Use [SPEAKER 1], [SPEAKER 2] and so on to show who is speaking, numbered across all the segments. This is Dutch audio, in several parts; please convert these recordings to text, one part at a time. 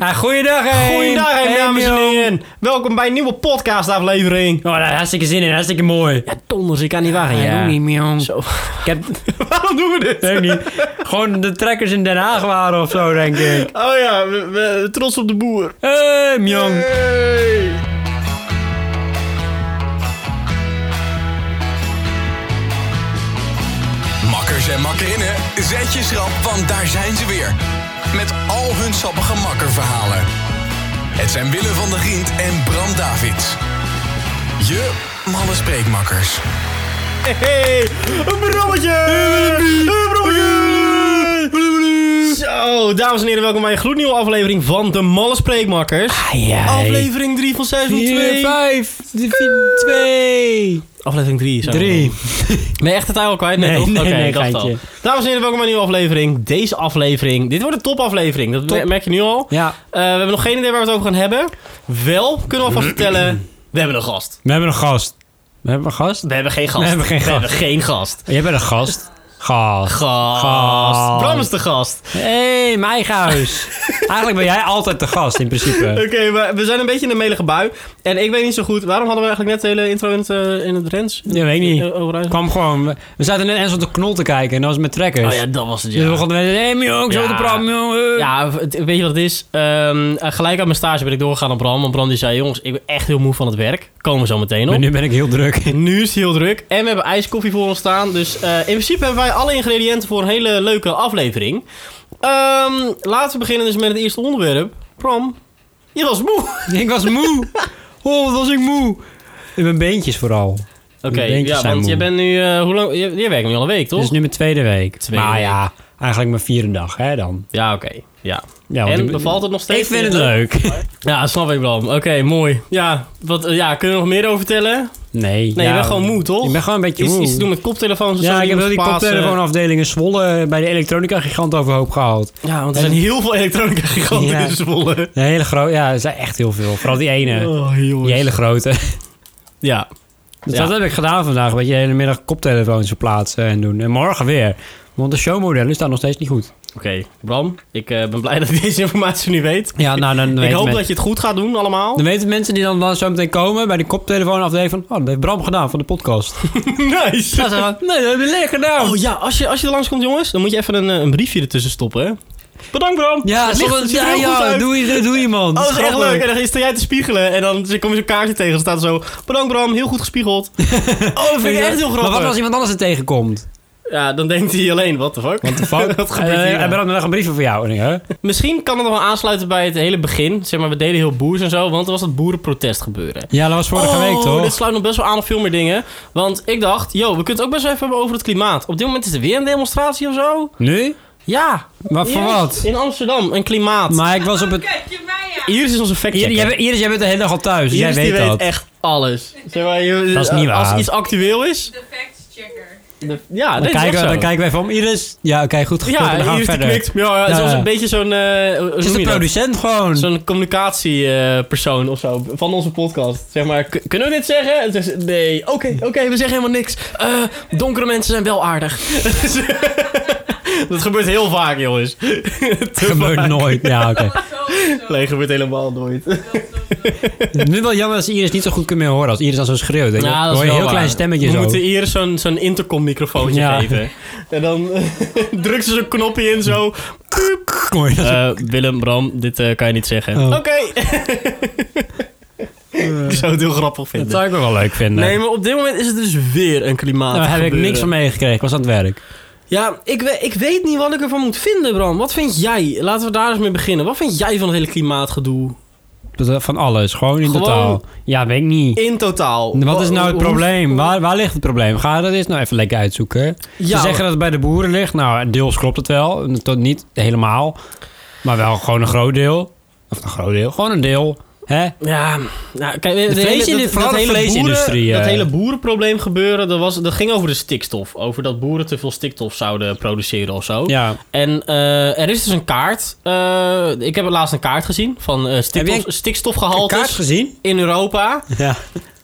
[SPEAKER 1] Nou, goeiedag, hè.
[SPEAKER 2] Goeiedag,
[SPEAKER 1] Hey,
[SPEAKER 2] dames en
[SPEAKER 1] Mion.
[SPEAKER 2] heren. Welkom bij een nieuwe podcastaflevering.
[SPEAKER 1] Oh, daar hartstikke zin in, hartstikke mooi.
[SPEAKER 2] Ja, donders, ik kan niet wachten.
[SPEAKER 1] Ja.
[SPEAKER 2] Mion. Zo.
[SPEAKER 1] Ik heb,
[SPEAKER 2] Waarom doen we dit?
[SPEAKER 1] weet ik niet, gewoon de trekkers in Den Haag waren of zo, denk ik.
[SPEAKER 2] Oh ja, we, we- trots op de boer.
[SPEAKER 1] Hé, hey, Mjong.
[SPEAKER 2] Hey.
[SPEAKER 3] Makkers en makkerinnen, zet je schrap, want daar zijn ze weer. Met al hun sappige makkerverhalen. Het zijn Willem van der Giend en Bram Davids. Je malle spreekmakkers.
[SPEAKER 2] Hey, een brommetje! Een brommetje! Zo, dames en heren, welkom bij een gloednieuwe aflevering van De Malle Spreekmakkers. Aflevering 3 van seizoen
[SPEAKER 1] 4,
[SPEAKER 2] 2.
[SPEAKER 1] 5, 2.
[SPEAKER 2] Aflevering 3 zo.
[SPEAKER 1] 3.
[SPEAKER 2] Ben je echt het ei al kwijt?
[SPEAKER 1] Nee,
[SPEAKER 2] toch?
[SPEAKER 1] nee,
[SPEAKER 2] Oké,
[SPEAKER 1] nee,
[SPEAKER 2] ik dacht
[SPEAKER 1] geintje.
[SPEAKER 2] al. Dames en heren, welkom bij een nieuwe aflevering. Deze aflevering, dit wordt een topaflevering. Dat
[SPEAKER 1] Top.
[SPEAKER 2] merk je nu al.
[SPEAKER 1] Ja.
[SPEAKER 2] Eh, we hebben nog geen idee waar we het over gaan hebben. Wel kunnen we alvast vertellen, we hebben een gast.
[SPEAKER 1] We hebben een gast. We hebben een gast?
[SPEAKER 2] We hebben geen gast.
[SPEAKER 1] We hebben geen gast.
[SPEAKER 2] geen gast.
[SPEAKER 1] Jij bent een gast. Gast.
[SPEAKER 2] Gast.
[SPEAKER 1] Gast.
[SPEAKER 2] Bram is de gast.
[SPEAKER 1] Hé, hey, mijn eigen huis. Eigenlijk ben jij altijd de gast, in
[SPEAKER 2] Oké,
[SPEAKER 1] principe.
[SPEAKER 2] maar we zijn een beetje in een melige bui. En ik weet niet zo goed, waarom hadden we eigenlijk net de hele intro in het, eh, in het Rens?
[SPEAKER 1] Ja, weet ik niet.
[SPEAKER 2] Eh, Overijssel?
[SPEAKER 1] kwam gewoon... We zaten net eens op de knol te kijken en dat was met trekkers.
[SPEAKER 2] Oh ja, dat was het,
[SPEAKER 1] Dus we
[SPEAKER 2] ja.
[SPEAKER 1] begonnen met... Hé, hey, Mjong, zo
[SPEAKER 2] Ja.
[SPEAKER 1] te praten, Mjong. eh.
[SPEAKER 2] Ja, het- weet je wat het is? Ehm, eh, gelijk aan mijn stage ben ik doorgegaan aan Bram. Want Bram die zei, jongens, ik ben echt heel moe van het werk. Komen we zo meteen
[SPEAKER 1] Maar
[SPEAKER 2] op.
[SPEAKER 1] nu ben ik heel druk.
[SPEAKER 2] Nu is het heel druk. En we hebben ijskoffie voor ons staan. Dus eh, in principe hebben wij alle ingrediënten voor een hele leuke aflevering. Ehm, laten we beginnen dus met het eerste onderwerp. Bram, je was moe. Oké,
[SPEAKER 1] Ik was moe. Oh, wat was ik moe. In mijn beentjes vooral. Mijn beentjes
[SPEAKER 2] ja,
[SPEAKER 1] zijn
[SPEAKER 2] want
[SPEAKER 1] moe.
[SPEAKER 2] je bent nu... eh, hoe lang, je, je werkt nu al een week,
[SPEAKER 1] Dit
[SPEAKER 2] toch?
[SPEAKER 1] is Dus nu mijn tweede week.
[SPEAKER 2] Tweede
[SPEAKER 1] maar
[SPEAKER 2] week.
[SPEAKER 1] ja, eigenlijk mijn vierde dag, hè dan.
[SPEAKER 2] Ja, oké. Ja.
[SPEAKER 1] Ja, want
[SPEAKER 2] En
[SPEAKER 1] ik-
[SPEAKER 2] bevalt het nog steeds?
[SPEAKER 1] Ik vind het leuk.
[SPEAKER 2] Ja, snap ik, Bram. Oké, mooi. Ja, wat, eh, ja, kunnen we nog meer over vertellen?
[SPEAKER 1] Nee.
[SPEAKER 2] Nee,
[SPEAKER 1] ja,
[SPEAKER 2] je bent gewoon moe, toch?
[SPEAKER 1] Ik ben gewoon een beetje
[SPEAKER 2] Iets,
[SPEAKER 1] moe.
[SPEAKER 2] iets te doen met koptelefoons. of zo,
[SPEAKER 1] ja, ik heb wel die
[SPEAKER 2] iemand spaas, eh,
[SPEAKER 1] koptelefoonafdeling in Zwolle eh, bij de elektronica gigant overhoop gehaald.
[SPEAKER 2] Ja, want er zijn heel veel elektronica giganten
[SPEAKER 1] Ja.
[SPEAKER 2] in Zwolle.
[SPEAKER 1] De hele grote, ja, er zijn echt heel veel. Vooral die ene,
[SPEAKER 2] Oh,
[SPEAKER 1] die
[SPEAKER 2] jongens.
[SPEAKER 1] hele grote.
[SPEAKER 2] Ja.
[SPEAKER 1] Dus
[SPEAKER 2] Ja.
[SPEAKER 1] dat heb ik gedaan vandaag, weet je, de hele middag koptelefoons verplaatsen en doen. En morgen weer. Want de showmodellen staan nog steeds niet goed.
[SPEAKER 2] Oké, Bram, ik eh, ben blij dat ik deze informatie nu weet.
[SPEAKER 1] Ja, nou, dan
[SPEAKER 2] ik hoop dat je het goed gaat doen allemaal.
[SPEAKER 1] Dan weten mensen die dan wel zo meteen komen bij de koptelefoon afdeling van... Oh, dat heeft Bram gedaan van de podcast.
[SPEAKER 2] nice.
[SPEAKER 1] Dan zeggen ze, nee, dat heb je lekker gedaan.
[SPEAKER 2] Oh ja, als je, als je er langskomt jongens, dan moet je even een, eh, een briefje ertussen stoppen. hè. Bedankt Bram.
[SPEAKER 1] ja,
[SPEAKER 2] Het licht
[SPEAKER 1] soms-
[SPEAKER 2] ziet er
[SPEAKER 1] ja,
[SPEAKER 2] heel goed
[SPEAKER 1] ja
[SPEAKER 2] uit.
[SPEAKER 1] doe, je, doe je man.
[SPEAKER 2] Oh, dat is echt
[SPEAKER 1] Grappig.
[SPEAKER 2] leuk. En dan sta jij te spiegelen en dan kom je zo'n kaartje tegen. Dan staat er zo, bedankt Bram, heel goed gespiegeld. oh, dat vind ik echt heel
[SPEAKER 1] Maar wat als
[SPEAKER 2] grappig.
[SPEAKER 1] iemand anders er tegenkomt?
[SPEAKER 2] Ja, dan denkt hij alleen, what the fuck.
[SPEAKER 1] Want de fuck?
[SPEAKER 2] Wat gebeurt
[SPEAKER 1] Eh,
[SPEAKER 2] hier
[SPEAKER 1] eh,
[SPEAKER 2] nou?
[SPEAKER 1] Bram, dan nog een briefje voor jou. En ik, hè?
[SPEAKER 2] Misschien kan het nog wel aansluiten bij het hele begin. Zeg maar, we deden heel boers en zo, want er was dat boerenprotest gebeuren.
[SPEAKER 1] Ja, dat was vorige
[SPEAKER 2] oh,
[SPEAKER 1] week, toch?
[SPEAKER 2] dit sluit nog best wel aan op veel meer dingen. Want ik dacht, yo, we kunnen het ook best wel even hebben over het klimaat. Op dit moment is er weer een demonstratie of zo.
[SPEAKER 1] Nu?
[SPEAKER 2] Ja.
[SPEAKER 1] Maar voor
[SPEAKER 2] Iris,
[SPEAKER 1] wat?
[SPEAKER 2] In Amsterdam, een klimaat.
[SPEAKER 1] Maar ik was op het...
[SPEAKER 4] Oh, Kijk je mij aan.
[SPEAKER 2] Iris is onze fact
[SPEAKER 1] Iris, jij, bent- Iris, jij bent de hele dag al thuis. dus jij
[SPEAKER 2] Iris die
[SPEAKER 1] weet
[SPEAKER 2] weet
[SPEAKER 1] dat.
[SPEAKER 2] echt alles. Zeg maar, je-
[SPEAKER 1] Dat is niet
[SPEAKER 2] Als
[SPEAKER 1] waar.
[SPEAKER 2] iets actueel is.
[SPEAKER 4] De factchecker.
[SPEAKER 2] de- ja,
[SPEAKER 1] Dan
[SPEAKER 2] dat is echt
[SPEAKER 1] kijken, we,
[SPEAKER 2] zo.
[SPEAKER 1] dan kijken we even om. Iris? Ja, oké, goed gekeurd.
[SPEAKER 2] ja,
[SPEAKER 1] dan gaan we
[SPEAKER 2] Iris die
[SPEAKER 1] verder.
[SPEAKER 2] knikt. Ja, ja,
[SPEAKER 1] Ja,
[SPEAKER 2] zoals
[SPEAKER 1] ja.
[SPEAKER 2] een beetje zo'n... eh, hoe
[SPEAKER 1] Het is
[SPEAKER 2] noem
[SPEAKER 1] de
[SPEAKER 2] je dat?
[SPEAKER 1] producent gewoon.
[SPEAKER 2] Zo'n communicatiepersoon eh, of zo van onze podcast. Zeg maar, "K- kunnen we dit zeggen? En ze zegt, nee, oké, oké, we zeggen helemaal niks. Eh, donkere mensen zijn wel aardig. dat gebeurt heel vaak, jongens. Te
[SPEAKER 1] Gebeurt
[SPEAKER 2] vaak.
[SPEAKER 1] nooit. Ja, oké.
[SPEAKER 4] Zo, zo.
[SPEAKER 2] Nee, gebeurt helemaal nooit.
[SPEAKER 1] Het is nu wel jammer dat ze Iris niet zo goed kunnen horen. Als Iris dan zo schreeuwt. weet je.
[SPEAKER 2] Ja, Nou, dat is
[SPEAKER 1] hoor je
[SPEAKER 2] wel
[SPEAKER 1] een heel
[SPEAKER 2] waar.
[SPEAKER 1] klein stemmetje
[SPEAKER 2] We
[SPEAKER 1] zo.
[SPEAKER 2] moeten Iris zo'n zo'n intercom microfoontje
[SPEAKER 1] Ja.
[SPEAKER 2] geven. En dan drukt ze zo'n knopje in zo.
[SPEAKER 1] Hoor je dat?
[SPEAKER 2] Eh, Willem, Bram, dit eh, kan je niet zeggen.
[SPEAKER 1] Oh.
[SPEAKER 2] Oké. ik zou het heel grappig
[SPEAKER 1] dat
[SPEAKER 2] vinden.
[SPEAKER 1] zou ik wel wel leuk vinden.
[SPEAKER 2] Nee, maar op dit moment is het dus weer een klimaat.
[SPEAKER 1] Nou, Daar heb ik
[SPEAKER 2] gebeuren.
[SPEAKER 1] niks van meegekregen. Ik was aan het werk.
[SPEAKER 2] Ja, ik, we- ik weet niet wat ik ervan moet vinden, Bram. Wat vind jij? Laten we daar eens mee beginnen. Wat vind jij van het hele klimaatgedoe?
[SPEAKER 1] Dat- eh, Van alles. Gewoon in
[SPEAKER 2] Gewoon-
[SPEAKER 1] totaal. Ja, weet ik niet.
[SPEAKER 2] In totaal.
[SPEAKER 1] Wat is nou het
[SPEAKER 2] Hoe-
[SPEAKER 1] probleem? Waar, waar ligt het probleem? Ga dat eens nou even lekker uitzoeken.
[SPEAKER 2] Ja,
[SPEAKER 1] Ze zeggen dat het bij de boeren ligt. Nou, deels klopt het wel. Tot niet helemaal. Maar wel gewoon een groot deel. Of een groot deel. Gewoon een deel. Hè?
[SPEAKER 2] Ja, nou, kijk, de,
[SPEAKER 1] vlees-
[SPEAKER 2] hele, dat,
[SPEAKER 1] vooral
[SPEAKER 2] dat
[SPEAKER 1] de
[SPEAKER 2] hele
[SPEAKER 1] vleesindustrie,
[SPEAKER 2] boeren-
[SPEAKER 1] eh.
[SPEAKER 2] dat hele boerenprobleem gebeuren, dat, was, dat ging over de stikstof. Over dat boeren te veel stikstof zouden produceren of zo.
[SPEAKER 1] Ja.
[SPEAKER 2] En eh, er is dus een kaart. Eh, ik heb laatst een kaart gezien van eh
[SPEAKER 1] Heb jij
[SPEAKER 2] stikstof,
[SPEAKER 1] een
[SPEAKER 2] stikstofgehaltes
[SPEAKER 1] gezien?
[SPEAKER 2] in Europa.
[SPEAKER 1] Ja.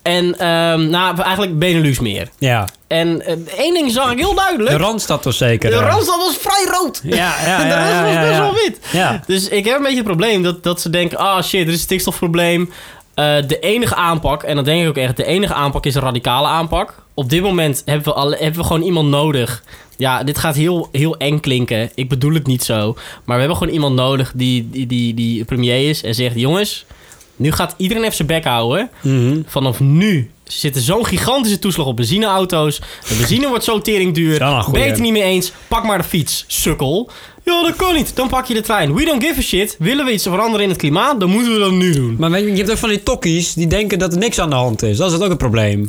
[SPEAKER 2] En ehm nou, eigenlijk Benelux meer.
[SPEAKER 1] Ja.
[SPEAKER 2] En eh, één ding zag ik
[SPEAKER 1] De
[SPEAKER 2] heel duidelijk.
[SPEAKER 1] Randstad was zeker.
[SPEAKER 2] De
[SPEAKER 1] daar.
[SPEAKER 2] Randstad was vrij rood.
[SPEAKER 1] Ja, ja,
[SPEAKER 2] En
[SPEAKER 1] ja.
[SPEAKER 2] de rest
[SPEAKER 1] ja,
[SPEAKER 2] was
[SPEAKER 1] ja,
[SPEAKER 2] best
[SPEAKER 1] ja.
[SPEAKER 2] wel wit.
[SPEAKER 1] Ja.
[SPEAKER 2] Dus ik heb een beetje het probleem dat, dat ze denken: ah shit, er is een stikstofprobleem. Eh, de enige aanpak, en dat denk ik ook echt, de enige aanpak is een radicale aanpak. Op dit moment hebben we, alle, hebben we gewoon iemand nodig. Ja, dit gaat heel, heel eng klinken. Ik bedoel het niet zo. Maar we hebben gewoon iemand nodig die, die, die, die premier is en zegt: jongens, nu gaat iedereen even zijn bek houden.
[SPEAKER 1] Mhm.
[SPEAKER 2] Vanaf nu zit er zo'n gigantische toeslag op benzineauto's. De benzine wordt zo teringduur.
[SPEAKER 1] Dat is wel een
[SPEAKER 2] Ben
[SPEAKER 1] goeie.
[SPEAKER 2] je het er niet mee eens? Pak maar de fiets, sukkel. Ja, dat kan niet. Dan pak je de trein. We don't give a shit. Willen we iets veranderen in het klimaat, dan moeten we dat nu doen.
[SPEAKER 1] Maar weet je, je hebt ook van die tokkies die denken dat er niks aan de hand is. Dat is het ook een probleem.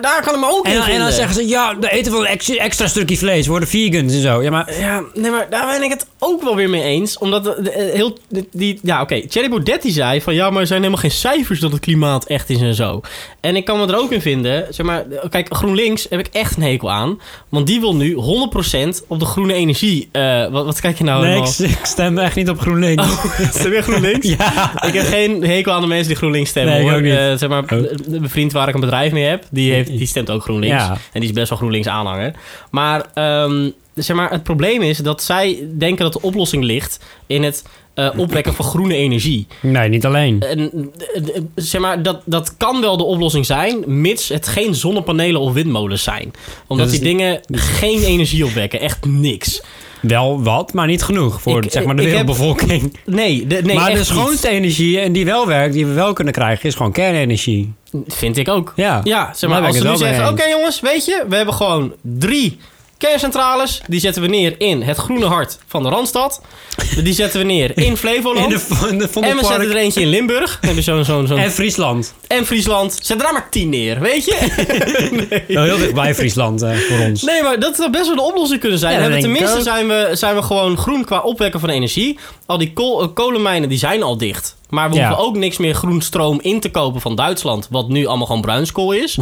[SPEAKER 2] Daar kan ik me ook
[SPEAKER 1] En
[SPEAKER 2] in
[SPEAKER 1] dan, en dan
[SPEAKER 2] vinden.
[SPEAKER 1] zeggen ze, ja, we eten wel een ex- extra stukje vlees, worden vegans en zo. Ja, maar
[SPEAKER 2] Ja, nee, maar daar ben ik het ook wel weer mee eens. Omdat de, de- eh, heel... de- die, ja, oké. Thierry Baudet die zei van... Ja, maar er zijn helemaal geen cijfers dat het klimaat echt is en zo. En ik kan me er ook in vinden. Zeg maar, eh, kijk, GroenLinks heb ik echt een hekel aan. Want die wil nu 100% op de groene energie. eh, wat, wat kijk je nou helemaal?
[SPEAKER 1] niks. Ik stem echt niet op GroenLinks.
[SPEAKER 2] Stem je GroenLinks?
[SPEAKER 1] Oh, Ja.
[SPEAKER 2] Ik heb geen hekel aan de mensen die GroenLinks stemmen.
[SPEAKER 1] Nee, ik
[SPEAKER 2] hoor.
[SPEAKER 1] ook niet.
[SPEAKER 2] Eh, zeg maar, mijn vriend waar ik een bedrijf mee heb, die, heeft, die stemt ook GroenLinks.
[SPEAKER 1] Ja.
[SPEAKER 2] En die is best wel GroenLinks aanhanger. Maar, ehm, zeg maar het probleem is dat zij denken dat de oplossing ligt in het eh, opwekken van groene energie.
[SPEAKER 1] Nee, niet alleen.
[SPEAKER 2] En, eh, eh, zeg maar, dat, dat kan wel de oplossing zijn, mits het geen zonnepanelen of windmolens zijn. Omdat
[SPEAKER 1] Dat is
[SPEAKER 2] die dingen geen energie opwekken, echt niks.
[SPEAKER 1] Wel wat, maar niet genoeg voor
[SPEAKER 2] Ik-
[SPEAKER 1] zeg maar, de
[SPEAKER 2] ik heb-
[SPEAKER 1] wereldbevolking.
[SPEAKER 2] Nee, de, nee
[SPEAKER 1] maar
[SPEAKER 2] echt
[SPEAKER 1] de
[SPEAKER 2] niet.
[SPEAKER 1] schoonste energie en die wel werkt, die we wel kunnen krijgen, is gewoon kernenergie.
[SPEAKER 2] Vind ik ook.
[SPEAKER 1] Ja.
[SPEAKER 2] Ja, zeg
[SPEAKER 1] Daar
[SPEAKER 2] maar,
[SPEAKER 1] ben
[SPEAKER 2] als
[SPEAKER 1] ik
[SPEAKER 2] ze
[SPEAKER 1] het
[SPEAKER 2] nu
[SPEAKER 1] wel mee
[SPEAKER 2] zeggen... Oké
[SPEAKER 1] eens.
[SPEAKER 2] jongens, weet je, we hebben gewoon drie kerncentrales. Die zetten we neer in het groene hart van de Randstad. Die zetten we neer in Flevoland.
[SPEAKER 1] In de, in de
[SPEAKER 2] en we zetten
[SPEAKER 1] Vondelpark
[SPEAKER 2] er eentje in Limburg. Dan Heb je zo'n, zo'n, zo'n...
[SPEAKER 1] en Friesland.
[SPEAKER 2] En Friesland. Zet er daar maar tien neer, weet je?
[SPEAKER 1] Wel Oh, heel dichtbij Friesland eh, voor ons.
[SPEAKER 2] Nee, maar dat zou best wel de oplossing kunnen zijn.
[SPEAKER 1] Ja,
[SPEAKER 2] Dan
[SPEAKER 1] dat
[SPEAKER 2] hebben we-
[SPEAKER 1] denk ik
[SPEAKER 2] tenminste zijn we, zijn we gewoon groen qua opwekken van energie. Al die kool- eh, kolenmijnen die zijn al dicht. Maar we
[SPEAKER 1] Ja.
[SPEAKER 2] hoeven ook niks meer groen stroom in te kopen van Duitsland. Wat nu allemaal gewoon bruinskool is.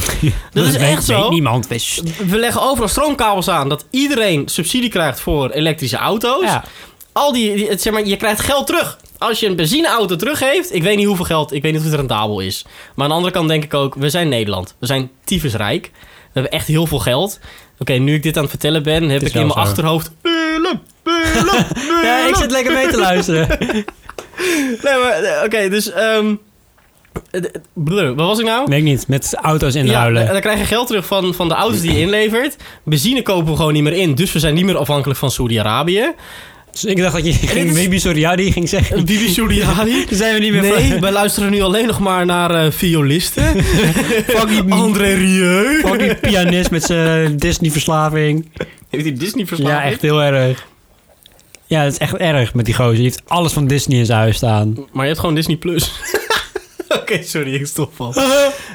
[SPEAKER 2] dat is
[SPEAKER 1] weet,
[SPEAKER 2] echt zo.
[SPEAKER 1] Weet niemand. Weet-
[SPEAKER 2] We leggen overal stroomkabels aan dat iedereen subsidie krijgt voor elektrische auto's.
[SPEAKER 1] Ja.
[SPEAKER 2] Al die, die- het, zeg maar, je krijgt geld terug. Als je een benzineauto teruggeeft, ik weet niet hoeveel geld, ik weet niet of het rendabel is. Maar aan de andere kant denk ik ook, we zijn Nederland. We zijn tyfusrijk. We hebben echt heel veel geld. Oké, nu ik dit aan het vertellen ben, heb
[SPEAKER 1] is
[SPEAKER 2] ik in
[SPEAKER 1] wel
[SPEAKER 2] mijn
[SPEAKER 1] zo.
[SPEAKER 2] achterhoofd... Willem, Willem,
[SPEAKER 1] Ja, ik
[SPEAKER 2] Willem.
[SPEAKER 1] zit lekker mee te luisteren.
[SPEAKER 2] Nee, maar eh, oké, dus... ehm, eh, eh, blur, wat was ik nou?
[SPEAKER 1] Weet ik niet, met auto's
[SPEAKER 2] Ja, eh,
[SPEAKER 1] inruilen.
[SPEAKER 2] dan krijg je geld terug van, van de auto's die je inlevert. Benzine kopen we gewoon niet meer in. Dus we zijn niet meer afhankelijk van Saudi-Arabië.
[SPEAKER 1] Dus ik dacht dat je ging,
[SPEAKER 2] is-
[SPEAKER 1] Bibi Soriadi ging zeggen.
[SPEAKER 2] Bibi Saudi-Arabië.
[SPEAKER 1] Dan zijn we niet meer
[SPEAKER 2] Nee, wij luisteren nu alleen nog maar naar eh, violisten.
[SPEAKER 1] Fucking
[SPEAKER 2] André Rieu.
[SPEAKER 1] Fucking Oh, pianist met zijn Disney-verslaving.
[SPEAKER 2] Heeft hij Disney
[SPEAKER 1] Ja, echt heel erg. Ja, dat is echt erg met die gozer. Die heeft alles van Disney in zijn huis staan.
[SPEAKER 2] Maar je hebt gewoon Disney+. Plus. Oké, sorry, ik stop al.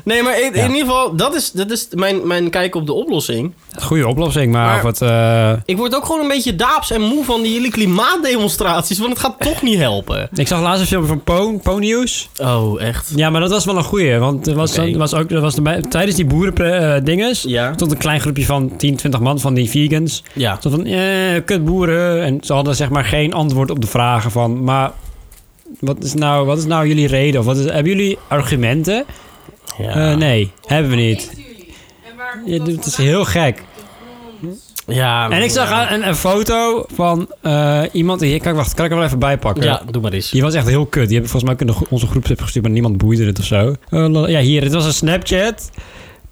[SPEAKER 2] Nee, maar in, in
[SPEAKER 1] Ja.
[SPEAKER 2] ieder geval, dat is, dat is mijn, mijn kijk op de oplossing.
[SPEAKER 1] Goede oplossing, maar,
[SPEAKER 2] Maar-
[SPEAKER 1] of het... eh,
[SPEAKER 2] Ik word ook gewoon een beetje daaps en moe van die jullie klimaatdemonstraties, want het gaat toch niet helpen.
[SPEAKER 1] Ik zag laatst een film van Po, Po News.
[SPEAKER 2] Oh, echt?
[SPEAKER 1] Ja, maar dat was wel een goeie. Want er was,
[SPEAKER 2] Oké.
[SPEAKER 1] er was ook, er was erbij- tijdens die boerendinges...
[SPEAKER 2] Ja.
[SPEAKER 1] stond een klein groepje van 10, 20 man van die vegans.
[SPEAKER 2] Ja.
[SPEAKER 1] Zo van, eh, kut boeren. En ze hadden zeg maar geen antwoord op de vragen van... Maar wat is nou, wat is nou jullie reden? Of wat is, hebben jullie argumenten? Eh, nee, hebben we niet.
[SPEAKER 4] En waar komt
[SPEAKER 1] Ja,
[SPEAKER 4] dat
[SPEAKER 1] dit is
[SPEAKER 4] vandaan?
[SPEAKER 1] heel gek.
[SPEAKER 4] De grond.
[SPEAKER 2] Ja.
[SPEAKER 1] En ik zag
[SPEAKER 2] ja.
[SPEAKER 1] aan- een, een foto van eh, iemand... Hier, kijk, wacht. Kan ik hem wel even bijpakken?
[SPEAKER 2] Ja, doe maar eens.
[SPEAKER 1] Die was echt heel kut. Die heb ik volgens mij ook in de gro- onze groepsapp gestuurd, maar niemand boeide het of zo. Eh, la- ja, hier. Dit was een Snapchat.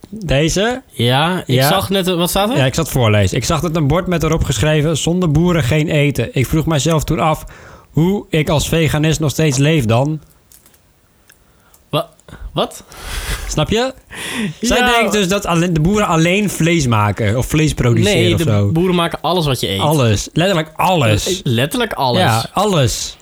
[SPEAKER 1] Deze.
[SPEAKER 2] Ja, ik
[SPEAKER 1] Ja.
[SPEAKER 2] zag net... Wat staat er?
[SPEAKER 1] Ja, ik zat voorlezen. Ik zag dat een bord met erop geschreven... zonder boeren geen eten. Ik vroeg mijzelf toen af hoe ik als veganist nog steeds leef dan.
[SPEAKER 2] Wa- wat?
[SPEAKER 1] Snap je? Zij
[SPEAKER 2] Ja.
[SPEAKER 1] denkt dus dat alleen, de boeren alleen vlees maken. Of vlees produceren
[SPEAKER 2] Nee,
[SPEAKER 1] of
[SPEAKER 2] de
[SPEAKER 1] zo.
[SPEAKER 2] boeren maken alles wat je eet.
[SPEAKER 1] Alles. Letterlijk alles.
[SPEAKER 2] Letterlijk alles.
[SPEAKER 1] Ja, alles.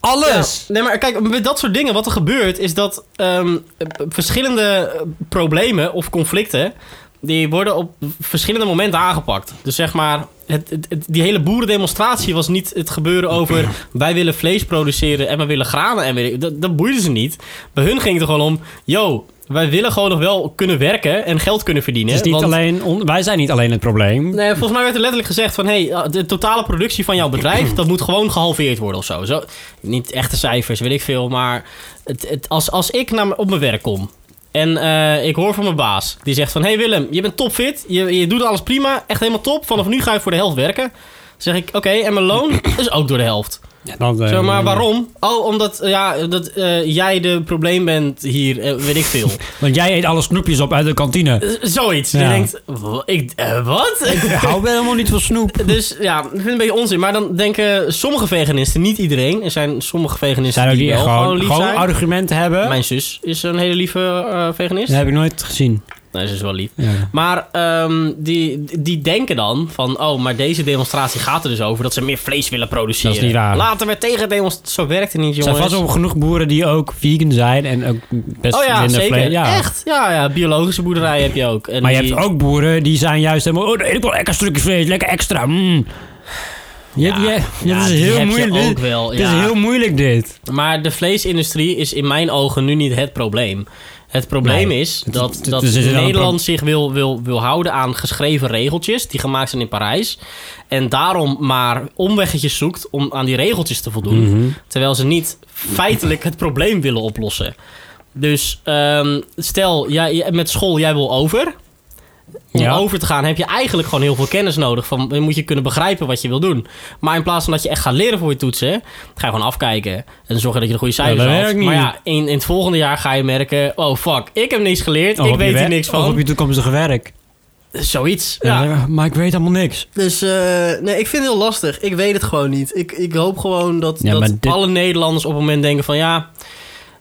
[SPEAKER 1] Alles!
[SPEAKER 2] Ja, nee, maar kijk, met dat soort dingen, wat er gebeurt, is dat ehm, eh, verschillende eh, problemen of conflicten, die worden op verschillende momenten aangepakt. Dus zeg maar, het, het- het- die hele boerendemonstratie was niet het gebeuren over wij willen vlees produceren en we willen granen en weet ik- dat, dat boeide ze niet. Bij hun ging het er gewoon om, yo, wij willen gewoon nog wel kunnen werken en geld kunnen verdienen.
[SPEAKER 1] Het is niet
[SPEAKER 2] want-
[SPEAKER 1] alleen on- wij zijn niet alleen het probleem.
[SPEAKER 2] Nee, volgens mij werd er letterlijk gezegd van... hey, de totale productie van jouw bedrijf... dat moet gewoon gehalveerd worden of zo. zo niet echte cijfers, weet ik veel. Maar het, het, als, als ik naar, m- op mijn werk kom... En eh, ik hoor van mijn baas. Die zegt van, hey Willem, je bent topfit. Je, je doet alles prima. Echt helemaal top. Vanaf nu ga je voor de helft werken. Dan zeg ik, oké, en mijn loon is ook door de helft.
[SPEAKER 1] Ja, dan, eh,
[SPEAKER 2] Zo, maar waarom? Oh, omdat eh, ja, dat, eh, jij de probleem bent hier, eh, weet ik veel.
[SPEAKER 1] Want jij eet alle snoepjes op uit de kantine.
[SPEAKER 2] Eh, Zoiets. Je
[SPEAKER 1] Ja.
[SPEAKER 2] denkt, wa- ik, eh, wat?
[SPEAKER 1] Ik hou wel helemaal niet van snoep.
[SPEAKER 2] dus ja, ik vind het een beetje onzin. Maar dan denken sommige veganisten, niet iedereen. Er zijn sommige veganisten
[SPEAKER 1] Zijn ook
[SPEAKER 2] die
[SPEAKER 1] die
[SPEAKER 2] wel gewoon,
[SPEAKER 1] gewoon,
[SPEAKER 2] lief
[SPEAKER 1] gewoon
[SPEAKER 2] zijn.
[SPEAKER 1] argumenten hebben?
[SPEAKER 2] Mijn zus is een hele lieve eh, veganist.
[SPEAKER 1] Dat heb ik nooit gezien.
[SPEAKER 2] Nee, ze is wel lief.
[SPEAKER 1] Ja.
[SPEAKER 2] Maar ehm, die, die denken dan van... oh, maar deze demonstratie gaat er dus over... dat ze meer vlees willen produceren.
[SPEAKER 1] Dat is niet waar.
[SPEAKER 2] Laten we tegen demonstratie... Zo werkt het niet,
[SPEAKER 1] Er
[SPEAKER 2] jongens.
[SPEAKER 1] zijn vast wel genoeg boeren die ook vegan zijn en ook best
[SPEAKER 2] oh ja,
[SPEAKER 1] minder
[SPEAKER 2] zeker.
[SPEAKER 1] vlees. Ja.
[SPEAKER 2] Echt. Ja, ja, biologische boerderijen heb je ook. En
[SPEAKER 1] Maar je
[SPEAKER 2] die-
[SPEAKER 1] hebt ook boeren die zijn juist helemaal... Oh, daar eet ik wel lekker stukje vlees, lekker extra. Mm. Je,
[SPEAKER 2] Ja,
[SPEAKER 1] je-
[SPEAKER 2] ja,
[SPEAKER 1] dat is
[SPEAKER 2] die heb
[SPEAKER 1] heel
[SPEAKER 2] je
[SPEAKER 1] moeilijk.
[SPEAKER 2] ook wel,
[SPEAKER 1] Het
[SPEAKER 2] ja.
[SPEAKER 1] is heel moeilijk dit.
[SPEAKER 2] Maar de vleesindustrie is in mijn ogen nu niet het probleem. Het probleem
[SPEAKER 1] Nee.
[SPEAKER 2] is
[SPEAKER 1] Het-
[SPEAKER 2] dat,
[SPEAKER 1] het-
[SPEAKER 2] dat
[SPEAKER 1] het is wel een
[SPEAKER 2] Nederland zich wil, wil, wil houden aan geschreven regeltjes die gemaakt zijn in Parijs. En daarom maar omweggetjes zoekt om aan die regeltjes te voldoen.
[SPEAKER 1] Mhm.
[SPEAKER 2] Terwijl ze niet feitelijk het probleem willen oplossen. Dus ehm, stel, jij, jij- met school, jij wil over. Om
[SPEAKER 1] Ja.
[SPEAKER 2] over te gaan heb je eigenlijk gewoon heel veel kennis nodig. Van, dan moet je kunnen begrijpen wat je wil doen. Maar in plaats van dat je echt gaat leren voor je toetsen, ga je gewoon afkijken. En zorgen dat je de goede cijfers
[SPEAKER 1] dat
[SPEAKER 2] haalt.
[SPEAKER 1] werkt niet.
[SPEAKER 2] Maar ja, in, in het volgende jaar ga je merken... Oh, fuck, ik heb niks geleerd.
[SPEAKER 1] Of
[SPEAKER 2] ik
[SPEAKER 1] op je
[SPEAKER 2] weet hier
[SPEAKER 1] werk-
[SPEAKER 2] niks
[SPEAKER 1] Of op
[SPEAKER 2] van.
[SPEAKER 1] je toekomstige werk.
[SPEAKER 2] Zoiets.
[SPEAKER 1] Ja.
[SPEAKER 2] Ja.
[SPEAKER 1] maar ik weet helemaal niks.
[SPEAKER 2] Dus eh, nee, ik vind het heel lastig. Ik weet het gewoon niet. Ik, ik hoop gewoon dat,
[SPEAKER 1] Ja,
[SPEAKER 2] dat
[SPEAKER 1] maar dit-
[SPEAKER 2] alle Nederlanders op het moment denken van... Ja,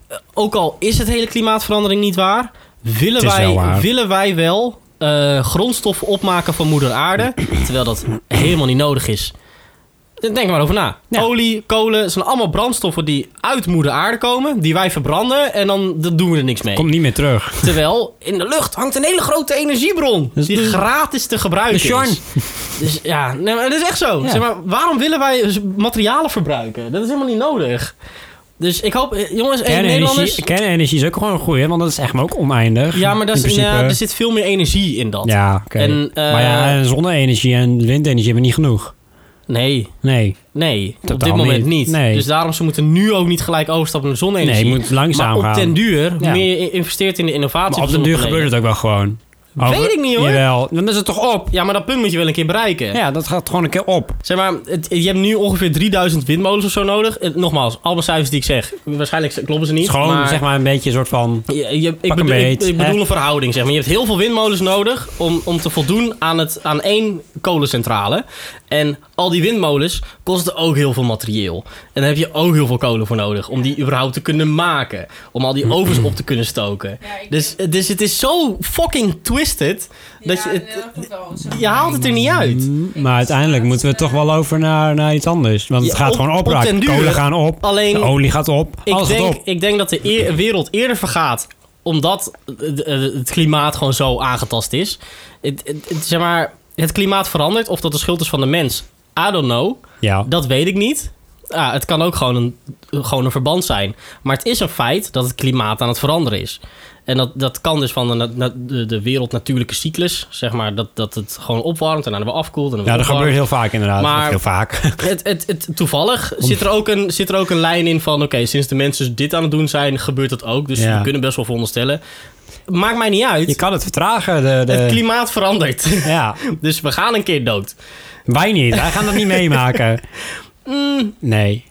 [SPEAKER 2] eh, ook al is het hele klimaatverandering niet waar... Willen,
[SPEAKER 1] Het is
[SPEAKER 2] wij,
[SPEAKER 1] wel waar.
[SPEAKER 2] willen wij wel eh, grondstoffen opmaken van moeder aarde... terwijl dat helemaal niet nodig is. Denk maar over na.
[SPEAKER 1] Ja.
[SPEAKER 2] Olie, kolen, het zijn allemaal brandstoffen die uit moeder aarde komen... die wij verbranden en dan dat doen we er niks mee.
[SPEAKER 1] Komt niet meer terug.
[SPEAKER 2] Terwijl in de lucht hangt een hele grote energiebron.
[SPEAKER 1] Dus
[SPEAKER 2] die
[SPEAKER 1] de-
[SPEAKER 2] gratis te gebruiken
[SPEAKER 1] de Sjarn.
[SPEAKER 2] is. Dus ja, nee, maar dat is echt zo.
[SPEAKER 1] Ja.
[SPEAKER 2] Zeg maar, waarom willen wij z- materialen verbruiken? Dat is helemaal niet nodig. Dus ik hoop, eh, jongens, eh, Nederlanders.
[SPEAKER 1] Kernenergie, kernenergie is ook gewoon een goeie, want dat is echt maar ook oneindig.
[SPEAKER 2] Ja, maar dat
[SPEAKER 1] in
[SPEAKER 2] is,
[SPEAKER 1] principe.
[SPEAKER 2] ja, er zit veel meer energie in dat.
[SPEAKER 1] Ja, oké.
[SPEAKER 2] En, eh,
[SPEAKER 1] maar ja, en zonne-energie en windenergie hebben niet genoeg.
[SPEAKER 2] Nee,
[SPEAKER 1] Nee,
[SPEAKER 2] nee. op dit
[SPEAKER 1] Totaal
[SPEAKER 2] moment niet.
[SPEAKER 1] niet. Nee.
[SPEAKER 2] Dus daarom ze moeten nu ook niet gelijk overstappen naar zonne-energie.
[SPEAKER 1] nee je moet langzaam
[SPEAKER 2] maar op
[SPEAKER 1] gaan.
[SPEAKER 2] ten duur, hoe
[SPEAKER 1] Ja.
[SPEAKER 2] meer je investeert in de innovatie.
[SPEAKER 1] maar op
[SPEAKER 2] van
[SPEAKER 1] den duur
[SPEAKER 2] zonnepanelen-
[SPEAKER 1] gebeurt het ook wel gewoon.
[SPEAKER 2] Weet ik niet, hoor.
[SPEAKER 1] Jawel, dan is het toch op.
[SPEAKER 2] Ja, maar dat punt moet je wel een keer bereiken.
[SPEAKER 1] Ja, dat gaat gewoon een keer op.
[SPEAKER 2] Zeg maar, het- je hebt nu ongeveer 3000 windmolens of zo nodig. Eh, Nogmaals, alle cijfers die ik zeg, waarschijnlijk kloppen ze
[SPEAKER 1] Het
[SPEAKER 2] niet.
[SPEAKER 1] is gewoon
[SPEAKER 2] maar
[SPEAKER 1] zeg maar een beetje een soort van...
[SPEAKER 2] je- je- ik,
[SPEAKER 1] pak een
[SPEAKER 2] bedoel, ik,
[SPEAKER 1] beet,
[SPEAKER 2] ik bedoel
[SPEAKER 1] hè?
[SPEAKER 2] een verhouding, zeg maar. Je hebt heel veel windmolens nodig om, om te voldoen aan, het, aan één kolencentrale. En al die windmolens kosten ook heel veel materieel. En daar heb je ook heel veel kolen voor nodig om die überhaupt te kunnen maken. Om al die ovens op te kunnen stoken.
[SPEAKER 4] Ja, ik-
[SPEAKER 2] Dus, dus het is zo fucking twisted dat je het... Je haalt het er niet uit.
[SPEAKER 1] Maar uiteindelijk moeten we toch wel over naar, naar iets anders. Want het
[SPEAKER 2] Ja,
[SPEAKER 1] gaat
[SPEAKER 2] op-
[SPEAKER 1] gewoon
[SPEAKER 2] op
[SPEAKER 1] opraken.
[SPEAKER 2] den duur.
[SPEAKER 1] Kolen gaan op,
[SPEAKER 2] Alleen-
[SPEAKER 1] de olie gaat op,
[SPEAKER 2] Ik
[SPEAKER 1] alles
[SPEAKER 2] denk,
[SPEAKER 1] gaat op.
[SPEAKER 2] ik denk dat de eer- wereld eerder vergaat omdat het- eh, het het klimaat gewoon zo aangetast is. Het, het- het- zeg maar, het klimaat verandert of dat de schuld is van de mens. I don't know.
[SPEAKER 1] Ja,
[SPEAKER 2] Dat weet ik niet. Ja, het kan ook gewoon een, gewoon een verband zijn. Maar het is een feit dat het klimaat aan het veranderen is. En dat, dat kan dus van de, na- na- de, de wereld natuurlijke cyclus. Zeg maar dat, dat het gewoon opwarmt en dan weer afkoelt. En dan weer
[SPEAKER 1] ja dat
[SPEAKER 2] opwarmt.
[SPEAKER 1] gebeurt heel vaak inderdaad.
[SPEAKER 2] Maar-
[SPEAKER 1] Of heel vaak.
[SPEAKER 2] Het, het, het, toevallig zit er, ook een, zit er ook een lijn in van... oké, sinds de mensen dit aan het doen zijn, gebeurt dat ook. Dus
[SPEAKER 1] Ja.
[SPEAKER 2] we kunnen best wel veronderstellen. Maakt mij niet uit.
[SPEAKER 1] Je kan het vertragen. De, de,
[SPEAKER 2] Het klimaat verandert.
[SPEAKER 1] Ja,
[SPEAKER 2] dus we gaan een keer dood.
[SPEAKER 1] wij niet. Wij gaan dat niet meemaken.
[SPEAKER 2] Mm.
[SPEAKER 1] Nee.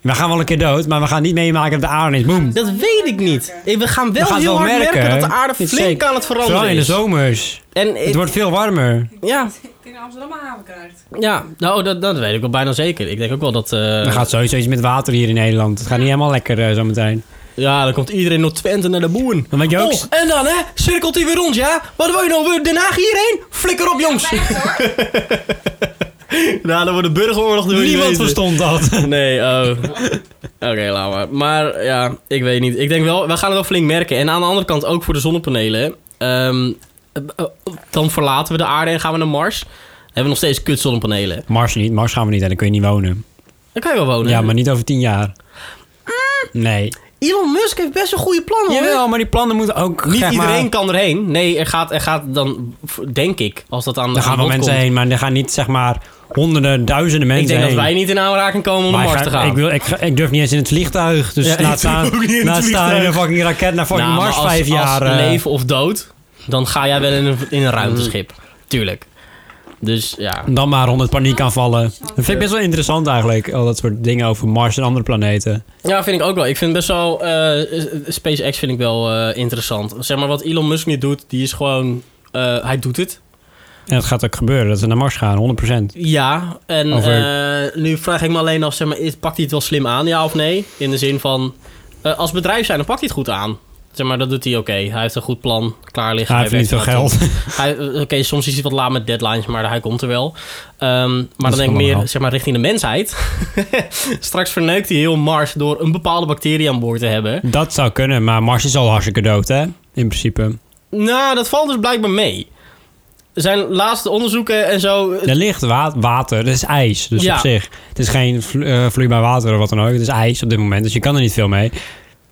[SPEAKER 1] We gaan wel een keer dood, maar we gaan niet meemaken dat de aarde is. Boem.
[SPEAKER 2] Dat weet ik niet. Eh, We gaan wel
[SPEAKER 1] We gaan het
[SPEAKER 2] heel
[SPEAKER 1] wel
[SPEAKER 2] hard merken,
[SPEAKER 1] merken, hè?
[SPEAKER 2] dat de aarde
[SPEAKER 1] Dit
[SPEAKER 2] flink
[SPEAKER 1] zeker.
[SPEAKER 2] aan het
[SPEAKER 1] Vooral
[SPEAKER 2] veranderen
[SPEAKER 1] in de
[SPEAKER 2] is.
[SPEAKER 1] zomers.
[SPEAKER 2] En eh,
[SPEAKER 1] Het wordt veel warmer.
[SPEAKER 2] ja,
[SPEAKER 4] Ik denk dat Amsterdam een haven krijgt.
[SPEAKER 2] ja. Nou, dat, dat weet ik wel bijna zeker. Ik denk ook wel dat... eh,
[SPEAKER 1] Er gaat sowieso iets met water hier in Nederland. Het gaat niet helemaal lekker eh, zometeen.
[SPEAKER 2] Ja, dan komt iedereen naar Twente naar de boeren.
[SPEAKER 1] Dan weet je ook-
[SPEAKER 2] Oh, en dan hè, cirkelt hij weer rond, ja? Wat wil je nou, weer Den Haag hierheen? Flikker op, jongens. nou, dan wordt de burgeroorlog er weer niet
[SPEAKER 1] Niemand
[SPEAKER 2] weten.
[SPEAKER 1] verstond dat.
[SPEAKER 2] Nee, oh. Oké, laat maar. Maar ja, ik weet niet. Ik denk wel, we gaan het wel flink merken. En aan de andere kant ook voor de zonnepanelen. ehm, eh, eh, dan verlaten we de aarde en gaan we naar Mars. Dan hebben we nog steeds kut zonnepanelen.
[SPEAKER 1] Mars niet. Mars gaan we niet en dan kun je niet wonen.
[SPEAKER 2] Dan kan je wel wonen.
[SPEAKER 1] Ja, maar niet over tien jaar.
[SPEAKER 2] Mm.
[SPEAKER 1] Nee.
[SPEAKER 2] Elon Musk heeft best een goede plannen. hoor.
[SPEAKER 1] Jawel, maar die plannen moeten ook...
[SPEAKER 2] Niet
[SPEAKER 1] zeg maar-
[SPEAKER 2] iedereen kan erheen. Nee, er gaat, er gaat dan, denk ik, als dat aan
[SPEAKER 1] Daar
[SPEAKER 2] aan
[SPEAKER 1] gaan wel
[SPEAKER 2] bod
[SPEAKER 1] mensen
[SPEAKER 2] komt.
[SPEAKER 1] heen, maar die gaan niet zeg maar honderden, duizenden mensen
[SPEAKER 2] Ik denk dat
[SPEAKER 1] heen.
[SPEAKER 2] wij niet in aanraking komen om naar
[SPEAKER 1] Maar
[SPEAKER 2] Mars
[SPEAKER 1] ik,
[SPEAKER 2] te
[SPEAKER 1] ga-
[SPEAKER 2] gaan.
[SPEAKER 1] ik, wil, ik, ga- ik durf niet eens in het vliegtuig. Dus
[SPEAKER 2] Ja, ik
[SPEAKER 1] laat staan,
[SPEAKER 2] durf ook niet in het
[SPEAKER 1] laat staan in een
[SPEAKER 2] vliegtuig.
[SPEAKER 1] fucking raket naar fucking
[SPEAKER 2] Nou, maar
[SPEAKER 1] Mars
[SPEAKER 2] als-
[SPEAKER 1] vijf jaar.
[SPEAKER 2] Als
[SPEAKER 1] eh,
[SPEAKER 2] leven of dood, dan ga jij wel in een, in een ruimteschip.
[SPEAKER 1] Mm.
[SPEAKER 2] Tuurlijk. Dus ja.
[SPEAKER 1] Dan maar 100 paniekaanvallen. Dat vind ik best wel interessant eigenlijk. Al dat soort dingen over Mars en andere planeten.
[SPEAKER 2] Ja, vind ik ook wel. Ik vind best wel... eh, SpaceX vind ik wel eh, interessant. Zeg maar, wat Elon Musk nu doet, die is gewoon... eh, hij doet het.
[SPEAKER 1] En dat gaat ook gebeuren, dat we naar Mars gaan, 100%.
[SPEAKER 2] Ja, en
[SPEAKER 1] Over-
[SPEAKER 2] eh, nu vraag ik me alleen af, zeg maar, is- pakt hij het wel slim aan, ja of nee? In de zin van, eh, als bedrijf zijn, dan pakt hij het goed aan. Zeg maar, dat doet hij oké. Hij heeft een goed plan klaar liggen.
[SPEAKER 1] Hij heeft niet veel
[SPEAKER 2] werkt ernaartoe.
[SPEAKER 1] geld.
[SPEAKER 2] Hij- eh, Oké, soms is hij wat laat met deadlines, maar hij komt er wel. Ehm, maar
[SPEAKER 1] is
[SPEAKER 2] dan denk ik
[SPEAKER 1] wel normaal.
[SPEAKER 2] meer, zeg maar, richting de mensheid. Straks verneukt hij heel Mars door een bepaalde bacterie aan boord te hebben.
[SPEAKER 1] Dat zou kunnen, maar Mars is al hartstikke dood, hè? In principe.
[SPEAKER 2] Nou, dat valt dus blijkbaar mee. Zijn laatste onderzoeken en zo... eh,
[SPEAKER 1] Er ligt wa- water, dat is ijs. Dus
[SPEAKER 2] Ja.
[SPEAKER 1] op zich. Het is geen vlo- eh, vloeibaar water of wat dan ook. Het is ijs op dit moment, dus je kan er niet veel mee.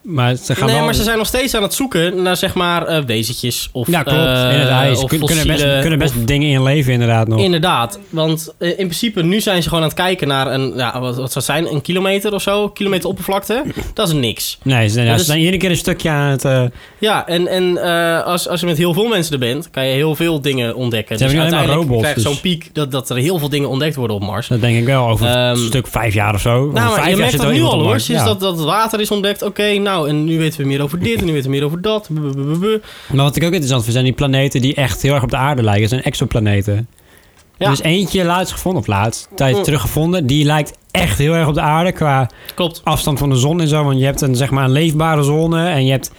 [SPEAKER 1] Maar ze gaan
[SPEAKER 2] nee,
[SPEAKER 1] wel...
[SPEAKER 2] maar ze zijn nog steeds aan het zoeken naar zeg maar eh, wezentjes of
[SPEAKER 1] Ja, klopt.
[SPEAKER 2] eh,
[SPEAKER 1] in het ijs.
[SPEAKER 2] of
[SPEAKER 1] Kun- kunnen best,
[SPEAKER 2] fossielen,
[SPEAKER 1] kunnen best dingen in leven inderdaad nog.
[SPEAKER 2] of- Inderdaad, want eh, in principe nu zijn ze gewoon aan het kijken naar een, ja, wat, wat zou het zijn, een kilometer of zo, kilometer oppervlakte. Dat is niks.
[SPEAKER 1] Nee, ze, ja,
[SPEAKER 2] dat
[SPEAKER 1] ze
[SPEAKER 2] is-
[SPEAKER 1] zijn iedere keer een stukje aan het... eh, ze
[SPEAKER 2] Ja, en, en eh, als, als je met heel veel mensen er bent, kan je heel veel dingen ontdekken.
[SPEAKER 1] Ze hebben nu alleen maar
[SPEAKER 2] uiteindelijk
[SPEAKER 1] robots,
[SPEAKER 2] krijg je zo'n
[SPEAKER 1] dus-
[SPEAKER 2] piek dat, dat er heel veel dingen ontdekt worden op Mars.
[SPEAKER 1] dat denk ik wel, over een
[SPEAKER 2] Ehm,
[SPEAKER 1] stuk vijf jaar of zo. Over
[SPEAKER 2] Nou, maar
[SPEAKER 1] vijf
[SPEAKER 2] je
[SPEAKER 1] jaar
[SPEAKER 2] merkt
[SPEAKER 1] zit
[SPEAKER 2] dat
[SPEAKER 1] er
[SPEAKER 2] nu
[SPEAKER 1] iemand
[SPEAKER 2] al
[SPEAKER 1] op
[SPEAKER 2] hoor.
[SPEAKER 1] Mars.
[SPEAKER 2] Sinds
[SPEAKER 1] Ja.
[SPEAKER 2] dat, dat water is ontdekt, oké, nou, en nu weten we meer over dit en nu weten we meer over dat. Bu- bu- bu- bu- bu.
[SPEAKER 1] Maar wat ik ook interessant vind, zijn die planeten die echt heel erg op de aarde lijken. zijn exoplaneten.
[SPEAKER 2] Ja. Mm.
[SPEAKER 1] Er is eentje laatst gevonden, of laatst, een tijdje terug gevonden. Die lijkt echt heel erg op de aarde qua
[SPEAKER 2] Klopt.
[SPEAKER 1] afstand van de zon en zo. Want je hebt een, zeg maar, een leefbare zone en je hebt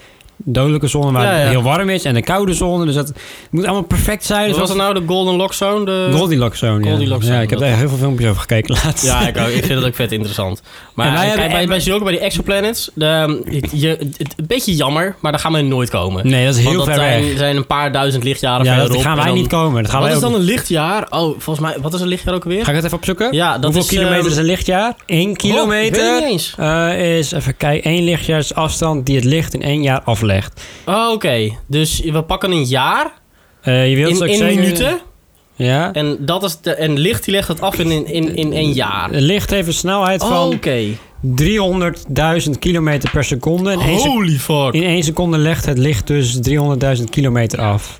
[SPEAKER 1] dodelijke zone waar
[SPEAKER 2] Ja,
[SPEAKER 1] het
[SPEAKER 2] ja.
[SPEAKER 1] heel warm is. En een koude zone, dus dat moet allemaal perfect zijn. Dus
[SPEAKER 2] Wat was het nou, de Golden Lock Zone? De...
[SPEAKER 1] Goldilocks zone, ja.
[SPEAKER 2] Goldilocks
[SPEAKER 1] ja.
[SPEAKER 2] zone,
[SPEAKER 1] ik heb
[SPEAKER 2] dat-
[SPEAKER 1] daar heel veel filmpjes over gekeken laatst.
[SPEAKER 2] Ja, ik, ook. ik vind het ook vet interessant. Maar
[SPEAKER 1] En wij
[SPEAKER 2] kijk,
[SPEAKER 1] hebben-
[SPEAKER 2] bij, bij zulke, bij die exoplanets, de, ehm, het- je, het- een beetje jammer, maar daar gaan we nooit komen.
[SPEAKER 1] Nee, dat is heel
[SPEAKER 2] Want
[SPEAKER 1] ver
[SPEAKER 2] dat zijn,
[SPEAKER 1] weg.
[SPEAKER 2] zijn een paar duizend lichtjaren
[SPEAKER 1] Ja,
[SPEAKER 2] verderop.
[SPEAKER 1] dat gaan
[SPEAKER 2] en
[SPEAKER 1] wij
[SPEAKER 2] dan-
[SPEAKER 1] niet komen. Dat gaan
[SPEAKER 2] Wat
[SPEAKER 1] wij
[SPEAKER 2] is
[SPEAKER 1] ook
[SPEAKER 2] dan een lichtjaar? Oh, volgens mij, wat is een lichtjaar ook weer?
[SPEAKER 1] Ga ik het even opzoeken?
[SPEAKER 2] Ja, dat
[SPEAKER 1] Hoeveel
[SPEAKER 2] is,
[SPEAKER 1] kilometer
[SPEAKER 2] ehm,
[SPEAKER 1] is een lichtjaar? 1 kilometer
[SPEAKER 2] Oh, ik weet het niet eens.
[SPEAKER 1] eh, is, even kijken, 1 lichtjaarsafstand die het licht in één jaar aflegt.
[SPEAKER 2] Oh, oké. Dus we pakken een jaar
[SPEAKER 1] Eh, je wilt
[SPEAKER 2] in,
[SPEAKER 1] ook
[SPEAKER 2] in
[SPEAKER 1] zeker-
[SPEAKER 2] minuten.
[SPEAKER 1] Ja.
[SPEAKER 2] En, dat is de, en licht die legt het af in, in, in, in één jaar.
[SPEAKER 1] Eh, Het licht heeft een snelheid
[SPEAKER 2] Oh,
[SPEAKER 1] van
[SPEAKER 2] oké.
[SPEAKER 1] 300.000 kilometer per seconde. In
[SPEAKER 2] Oh.
[SPEAKER 1] één, sec-
[SPEAKER 2] Holy fuck.
[SPEAKER 1] in één seconde legt het licht dus 300.000 kilometer af.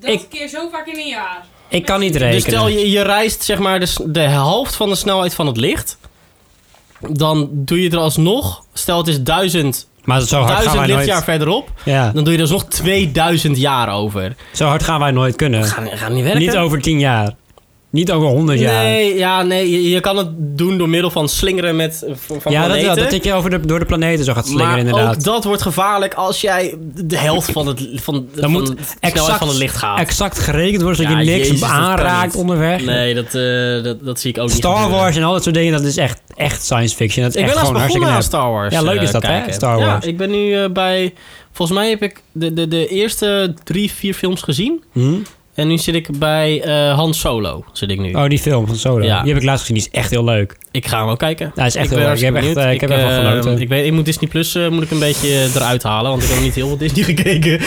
[SPEAKER 4] Dat
[SPEAKER 1] Ik-
[SPEAKER 4] keer zo vaak in een jaar.
[SPEAKER 1] Ik kan niet rekenen.
[SPEAKER 2] Dus stel je, je reist zeg maar de, s- de helft van de snelheid van het licht. Dan doe je er alsnog, stel het is 1000,
[SPEAKER 1] maar zo hard Oh, gaan wij
[SPEAKER 2] 1000 lichtjaar
[SPEAKER 1] nooit...
[SPEAKER 2] verderop.
[SPEAKER 1] Ja,
[SPEAKER 2] Dan doe je er alsnog 2000 jaar over.
[SPEAKER 1] zo hard gaan wij nooit kunnen.
[SPEAKER 2] Gaat gaat niet werken.
[SPEAKER 1] Niet over 10 jaar. Niet over 100 jaar.
[SPEAKER 2] Nee, ja, nee je, je kan het doen door middel van slingeren met eh, van van
[SPEAKER 1] ja, dat,
[SPEAKER 2] planeten.
[SPEAKER 1] wel, dat ik je over de, door de planeten zo gaat slingeren
[SPEAKER 2] maar
[SPEAKER 1] inderdaad.
[SPEAKER 2] ook dat wordt gevaarlijk als jij de helft van, het, van,
[SPEAKER 1] Dan
[SPEAKER 2] van
[SPEAKER 1] moet
[SPEAKER 2] de snelheid van het licht gaat.
[SPEAKER 1] exact gerekend worden, zodat
[SPEAKER 2] Ja,
[SPEAKER 1] je niks
[SPEAKER 2] Jezus, dat kan
[SPEAKER 1] aanraakt
[SPEAKER 2] niet.
[SPEAKER 1] onderweg.
[SPEAKER 2] Nee, dat, eh, dat, dat zie ik ook niet
[SPEAKER 1] Star
[SPEAKER 2] gebeuren.
[SPEAKER 1] Wars en al dat soort dingen, dat is echt, echt science fiction. Dat is
[SPEAKER 2] Ik
[SPEAKER 1] echt
[SPEAKER 2] ben laatst
[SPEAKER 1] gewoon hartstikke
[SPEAKER 2] begonnen aan
[SPEAKER 1] nep.
[SPEAKER 2] Star Wars.
[SPEAKER 1] Ja, leuk
[SPEAKER 2] eh,
[SPEAKER 1] is dat, hè,
[SPEAKER 2] kijken.
[SPEAKER 1] Star Wars.
[SPEAKER 2] Ja, ik ben nu eh, bij... Volgens mij heb ik de, de, de eerste drie, vier films gezien.
[SPEAKER 1] Hm?
[SPEAKER 2] En nu zit ik bij eh, Han Solo. Zit ik nu.
[SPEAKER 1] Oh, die film van Solo.
[SPEAKER 2] Ja.
[SPEAKER 1] Die heb ik laatst gezien, die is echt heel leuk.
[SPEAKER 2] Ik ga hem ook kijken.
[SPEAKER 1] Hij is echt
[SPEAKER 2] ik
[SPEAKER 1] heel
[SPEAKER 2] ben
[SPEAKER 1] leuk. Ik heb
[SPEAKER 2] hartstikke
[SPEAKER 1] echt,
[SPEAKER 2] benieuwd.
[SPEAKER 1] eh, ik heb ervan
[SPEAKER 2] eh,
[SPEAKER 1] genoten.
[SPEAKER 2] Ik, weet, ik moet Disney Plus eh, moet ik een beetje eh, eruit halen, want ik heb niet heel veel Disney gekeken.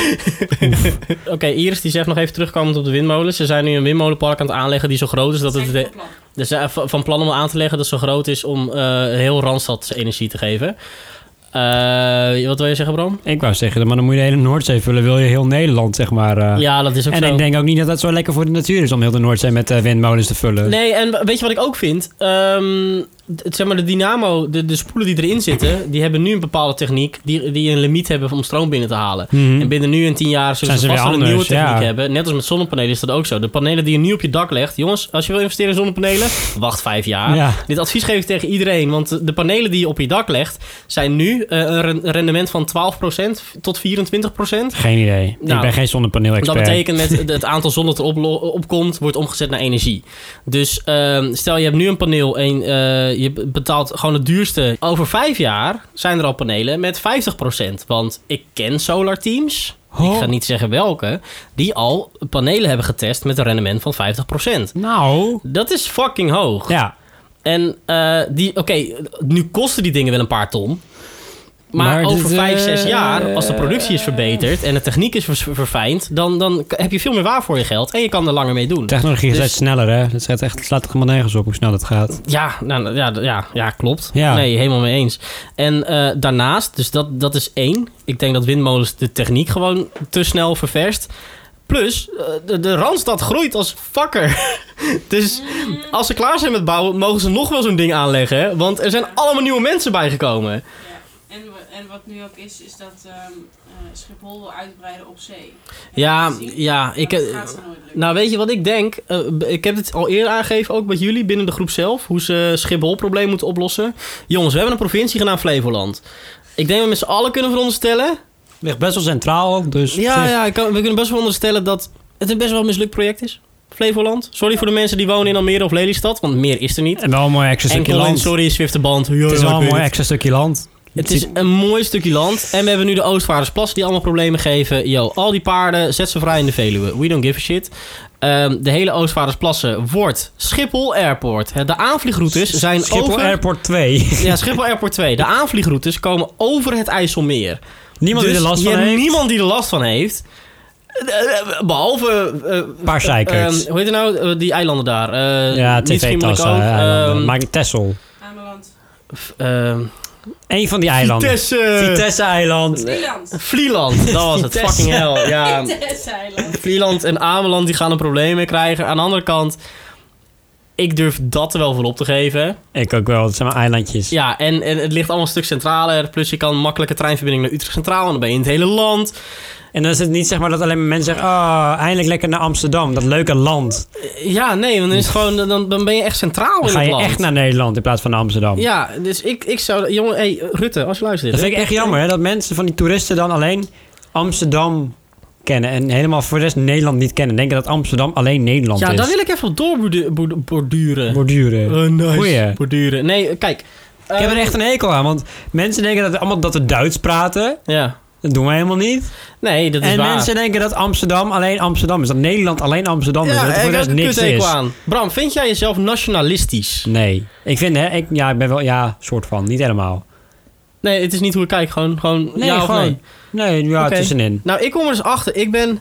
[SPEAKER 2] Oké, Iris die zegt nog even terugkomend op de windmolens. Ze zijn nu een windmolenpark aan het aanleggen die zo groot is dat
[SPEAKER 4] Dat
[SPEAKER 2] het...
[SPEAKER 4] is
[SPEAKER 2] de-
[SPEAKER 4] echt plan.
[SPEAKER 2] Dus zijn van van plan om aan te leggen dat het zo groot is om eh, heel Randstad energie te geven. Eh, wat wil je zeggen, Bram?
[SPEAKER 1] Ik wou zeggen, maar dan moet je de hele Noordzee vullen. Wil je heel Nederland, zeg maar. eh.
[SPEAKER 2] Ja, dat is ook
[SPEAKER 1] en
[SPEAKER 2] zo.
[SPEAKER 1] ik denk ook niet dat dat zo lekker voor de natuur is om heel de Noordzee met eh, windmolens te vullen.
[SPEAKER 2] Nee, en weet je wat ik ook vind? Ehm, het, zeg maar, de dynamo, de, de spoelen die erin zitten, die hebben nu een bepaalde techniek die, die een limiet hebben om stroom binnen te halen.
[SPEAKER 1] Mhm.
[SPEAKER 2] En binnen nu en tien jaar zullen
[SPEAKER 1] Zijn
[SPEAKER 2] ze
[SPEAKER 1] ze
[SPEAKER 2] vast
[SPEAKER 1] weer
[SPEAKER 2] wel een
[SPEAKER 1] anders,
[SPEAKER 2] nieuwe techniek
[SPEAKER 1] ja.
[SPEAKER 2] hebben. Net als met zonnepanelen is dat ook zo. De panelen die je nu op je dak legt. Jongens, als je wil investeren in zonnepanelen, wacht vijf jaar.
[SPEAKER 1] Ja.
[SPEAKER 2] Dit advies geef ik tegen iedereen. Want de panelen die je op je dak legt, zijn nu eh, een ren- rendement van 12% tot 24%.
[SPEAKER 1] Geen idee. ik
[SPEAKER 2] Nou,
[SPEAKER 1] ben geen zonnepaneel-expert.
[SPEAKER 2] Dat betekent met het- het aantal zon dat erop lo- opkomt, wordt omgezet naar energie. Dus ehm, stel je hebt nu een paneel en eh, je betaalt gewoon het duurste. Over vijf jaar zijn er al panelen met 50%. Want ik ken solar teams,
[SPEAKER 1] Oh.
[SPEAKER 2] ik ga niet zeggen welke, die al panelen hebben getest met een rendement van 50%.
[SPEAKER 1] Nou,
[SPEAKER 2] Dat is fucking hoog.
[SPEAKER 1] ja.
[SPEAKER 2] En eh, die, oké, nu kosten die dingen wel een paar ton. Maar,
[SPEAKER 1] Maar
[SPEAKER 2] over
[SPEAKER 1] dit,
[SPEAKER 2] vijf,
[SPEAKER 1] eh,
[SPEAKER 2] zes jaar, als de productie is verbeterd en de techniek is vers- verfijnd, dan, dan k- heb je veel meer waar voor je geld en je kan er langer mee doen.
[SPEAKER 1] Technologie
[SPEAKER 2] Dus-
[SPEAKER 1] is sneller, hè? Dat slaat echt, het slaat toch helemaal nergens op hoe snel dat gaat.
[SPEAKER 2] Ja, nou, ja, ja, ja klopt.
[SPEAKER 1] Ja.
[SPEAKER 2] Nee, helemaal mee eens. En eh, daarnaast, dus dat, dat is één. Ik denk dat windmolens de techniek gewoon te snel ververst. Plus, eh, de, de Randstad groeit als fakker. dus als ze klaar zijn met bouwen, mogen ze nog wel zo'n ding aanleggen. hè? Want er zijn allemaal nieuwe mensen bijgekomen.
[SPEAKER 4] En, wa- en wat nu ook is, is dat ehm, eh, Schiphol wil uitbreiden op zee. Heb je
[SPEAKER 2] Ja,
[SPEAKER 4] dat gezien?
[SPEAKER 2] ja, ik...
[SPEAKER 4] Maar dat
[SPEAKER 2] eh,
[SPEAKER 4] gaat ze nooit lukken.
[SPEAKER 2] Nou, weet je wat ik denk? Eh, b- ik heb het al eerder aangegeven, ook bij jullie binnen de groep zelf, hoe ze Schiphol-probleem moeten oplossen. Jongens, we hebben een provincie genaamd Flevoland. Ik denk dat we met z'n allen kunnen veronderstellen.
[SPEAKER 1] Ligt best wel centraal ook, dus...
[SPEAKER 2] Ja, ja ik kan- we kunnen best wel veronderstellen dat het een best wel mislukt project is. Flevoland. Sorry voor de mensen die wonen in Almere of Lelystad, want meer is er niet.
[SPEAKER 1] En wel een mooi extra stukje
[SPEAKER 2] Enkel en
[SPEAKER 1] land.
[SPEAKER 2] sorry, Zwifte band. Ja,
[SPEAKER 1] Het is
[SPEAKER 2] ja, ik
[SPEAKER 1] wel een
[SPEAKER 2] weet
[SPEAKER 1] mooi
[SPEAKER 2] het.
[SPEAKER 1] extra stukje land.
[SPEAKER 2] Het is een mooi stukje land. En we hebben nu de Oostvaardersplas die allemaal problemen geven. Yo, al die paarden, zet ze vrij in de Veluwe. We don't give a shit. Ehm, de hele Oostvaardersplassen wordt Schiphol Airport. Hè, De aanvliegroutes zijn
[SPEAKER 1] Schiphol
[SPEAKER 2] over...
[SPEAKER 1] Airport 2.
[SPEAKER 2] ja, Schiphol Airport 2. De aanvliegroutes komen over het IJsselmeer.
[SPEAKER 1] Niemand
[SPEAKER 2] Dus
[SPEAKER 1] die er last
[SPEAKER 2] je
[SPEAKER 1] van
[SPEAKER 2] hebt
[SPEAKER 1] heeft.
[SPEAKER 2] Niemand die er last van heeft. Eh, eh, Behalve... eh,
[SPEAKER 1] Een paar zeikerts.
[SPEAKER 2] ehm, hoe heet het nou? Eh, die eilanden daar. Eh,
[SPEAKER 1] ja,
[SPEAKER 2] niet
[SPEAKER 1] tv-tassen.
[SPEAKER 2] Schiermonnikoog,
[SPEAKER 1] eh, eilanden.
[SPEAKER 2] ehm,
[SPEAKER 1] Maar Texel.
[SPEAKER 4] Ameland.
[SPEAKER 2] ehm,
[SPEAKER 1] Eén van die eilanden.
[SPEAKER 2] Vitesse.
[SPEAKER 1] Vitesse-eiland.
[SPEAKER 2] Vlieland,
[SPEAKER 4] Vlieland.
[SPEAKER 2] dat was het.
[SPEAKER 1] Vitesse.
[SPEAKER 2] Fucking hell. Ja,
[SPEAKER 4] Tesseiland.
[SPEAKER 2] Vlieland en Ameland die gaan er problemen mee krijgen. Aan de andere kant, ik durf dat er wel voor op te geven.
[SPEAKER 1] Ik ook wel, dat zijn maar eilandjes.
[SPEAKER 2] Ja, en, en het ligt allemaal een stuk centraler. Plus je kan makkelijke treinverbinding naar Utrecht Centraal en dan ben je in het hele land.
[SPEAKER 1] En dan is het niet zeg maar dat alleen maar mensen zeggen... Oh, eindelijk lekker naar Amsterdam, dat leuke land.
[SPEAKER 2] Ja, nee, want dan, is het gewoon, dan, dan ben je echt centraal
[SPEAKER 1] Dan
[SPEAKER 2] in
[SPEAKER 1] ga
[SPEAKER 2] het
[SPEAKER 1] je
[SPEAKER 2] land.
[SPEAKER 1] echt naar Nederland in plaats van naar Amsterdam.
[SPEAKER 2] Ja, dus ik, ik zou... Jongen, hey, Rutte, als je luistert.
[SPEAKER 1] Dat vind ik echt jammer, hè? Dat mensen van die toeristen dan alleen Amsterdam kennen. En helemaal voor de rest Nederland niet kennen. Denken dat Amsterdam alleen Nederland
[SPEAKER 2] ja,
[SPEAKER 1] is.
[SPEAKER 2] daar wil ik even op doorborduren.
[SPEAKER 1] Borduren.
[SPEAKER 2] Oh, nice.
[SPEAKER 1] Goeie.
[SPEAKER 2] Borduren. Nee, kijk. eh,
[SPEAKER 1] Ik heb er echt een hekel aan, want mensen denken dat, we allemaal dat we Duits praten.
[SPEAKER 2] Ja.
[SPEAKER 1] Dat doen we helemaal niet.
[SPEAKER 2] Nee, dat is
[SPEAKER 1] En
[SPEAKER 2] waar.
[SPEAKER 1] mensen denken dat Amsterdam alleen Amsterdam is. Dat Nederland alleen Amsterdam is.
[SPEAKER 2] Ja,
[SPEAKER 1] en dat
[SPEAKER 2] ik
[SPEAKER 1] er voor de
[SPEAKER 2] heb
[SPEAKER 1] rest
[SPEAKER 2] een
[SPEAKER 1] niks
[SPEAKER 2] kuttekel
[SPEAKER 1] is.
[SPEAKER 2] aan. Bram, vind jij jezelf nationalistisch?
[SPEAKER 1] Nee. Ik vind, hè, ik, ja, ik ben wel, ja, soort van. Niet helemaal.
[SPEAKER 2] Nee, het is niet hoe ik kijk. Gewoon, gewoon
[SPEAKER 1] Nee,
[SPEAKER 2] ja of
[SPEAKER 1] gewoon.
[SPEAKER 2] nee.
[SPEAKER 1] Nee, ja,
[SPEAKER 2] Oké.
[SPEAKER 1] tussenin.
[SPEAKER 2] Nou, ik kom er dus achter. Ik ben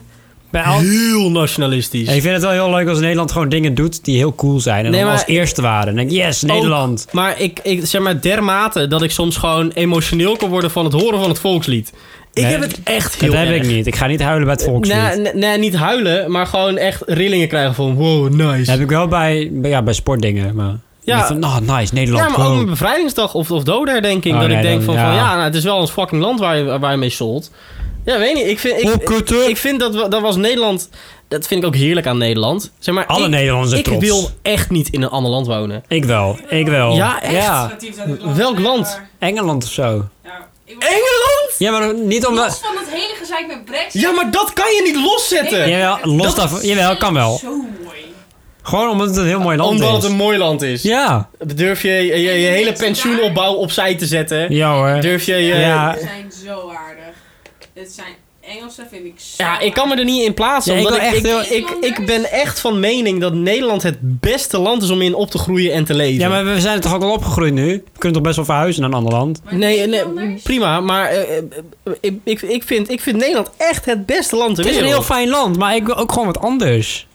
[SPEAKER 1] Bij al...
[SPEAKER 2] heel nationalistisch.
[SPEAKER 1] Ik vind het wel heel leuk als Nederland gewoon dingen doet die heel cool zijn. En
[SPEAKER 2] Nee,
[SPEAKER 1] dan
[SPEAKER 2] maar-
[SPEAKER 1] als eerste waren. Dan denk ik, yes, Nederland.
[SPEAKER 2] Maar ik, ik zeg maar dermate dat ik soms gewoon emotioneel kan worden van het horen van het volkslied. Ik
[SPEAKER 1] Nee,
[SPEAKER 2] heb het echt heel
[SPEAKER 1] Dat heb
[SPEAKER 2] erg. Nou,
[SPEAKER 1] ik niet. Ik ga niet huilen bij het volkslied.
[SPEAKER 2] Nee, nee, nee, niet huilen, maar gewoon echt rillingen krijgen van wow, nice.
[SPEAKER 1] Dat heb ik wel bij, bij- ja, bij sportdingen. Maar
[SPEAKER 2] Ja.
[SPEAKER 1] ja. van, oh, nice, Nederland.
[SPEAKER 2] ja, maar ook
[SPEAKER 1] wow.
[SPEAKER 2] met bevrijdingsdag of, of dodenherdenking.
[SPEAKER 1] Oh,
[SPEAKER 2] dat ik
[SPEAKER 1] nee,
[SPEAKER 2] denk
[SPEAKER 1] dan-
[SPEAKER 2] van,
[SPEAKER 1] ja.
[SPEAKER 2] van ja, nou, het is wel ons fucking land waar je, waar je mee solt. Ja, weet niet. Ik vind, ik,
[SPEAKER 1] Oh, kutte.
[SPEAKER 2] ik vind dat, we- dat was Nederland... Dat vind ik ook heerlijk aan Nederland. Zeg maar,
[SPEAKER 1] Alle
[SPEAKER 2] ik,
[SPEAKER 1] Nederlanders zijn
[SPEAKER 2] Ik
[SPEAKER 1] trots.
[SPEAKER 2] wil echt niet in een ander land wonen.
[SPEAKER 1] Ik wel, ik wel.
[SPEAKER 2] Ja, echt?
[SPEAKER 1] Ja.
[SPEAKER 4] Relatief dat het land
[SPEAKER 2] Welk
[SPEAKER 4] is,
[SPEAKER 2] land?
[SPEAKER 4] maar-
[SPEAKER 1] Engeland of zo.
[SPEAKER 4] Ja, ik wil-
[SPEAKER 2] Engeland?
[SPEAKER 1] Ja, maar niet
[SPEAKER 4] Los
[SPEAKER 1] omdat...
[SPEAKER 4] van dat hele gezeik met Brexit.
[SPEAKER 2] Ja, maar dat kan je niet loszetten.
[SPEAKER 4] Nee,
[SPEAKER 1] Jawel, los
[SPEAKER 2] Dat-
[SPEAKER 1] daarvan. Jawel, kan wel.
[SPEAKER 4] Zo mooi.
[SPEAKER 1] Gewoon omdat het een heel mooi land
[SPEAKER 2] Omdat
[SPEAKER 1] is.
[SPEAKER 2] het een mooi land is.
[SPEAKER 1] Ja.
[SPEAKER 2] Durf je je, je hele pensioenopbouw opzij te zetten.
[SPEAKER 1] Ja hoor.
[SPEAKER 2] Durf je... je
[SPEAKER 1] Ja.
[SPEAKER 4] Ze zijn zo aardig. Het zijn Engelsen, vind ik zo
[SPEAKER 2] Ja, ik kan me er niet in plaatsen.
[SPEAKER 1] Ja, ik
[SPEAKER 2] omdat ik,
[SPEAKER 1] wil
[SPEAKER 2] ik, ik,
[SPEAKER 1] echt
[SPEAKER 4] heel-
[SPEAKER 2] ik, ben echt van mening dat Nederland het beste land is om in op te groeien en te leven.
[SPEAKER 1] Ja, maar we zijn er toch ook al opgegroeid nu? We kunnen toch best wel verhuizen naar een ander land?
[SPEAKER 4] Maar
[SPEAKER 2] Nee,
[SPEAKER 4] het is
[SPEAKER 2] nee,
[SPEAKER 4] anders.
[SPEAKER 2] prima, maar eh, eh, ik, ik, ik, vind, ik vind Nederland echt het beste land ter
[SPEAKER 1] Het is een
[SPEAKER 2] wereld.
[SPEAKER 1] heel fijn land, maar ik wil ook gewoon wat anders.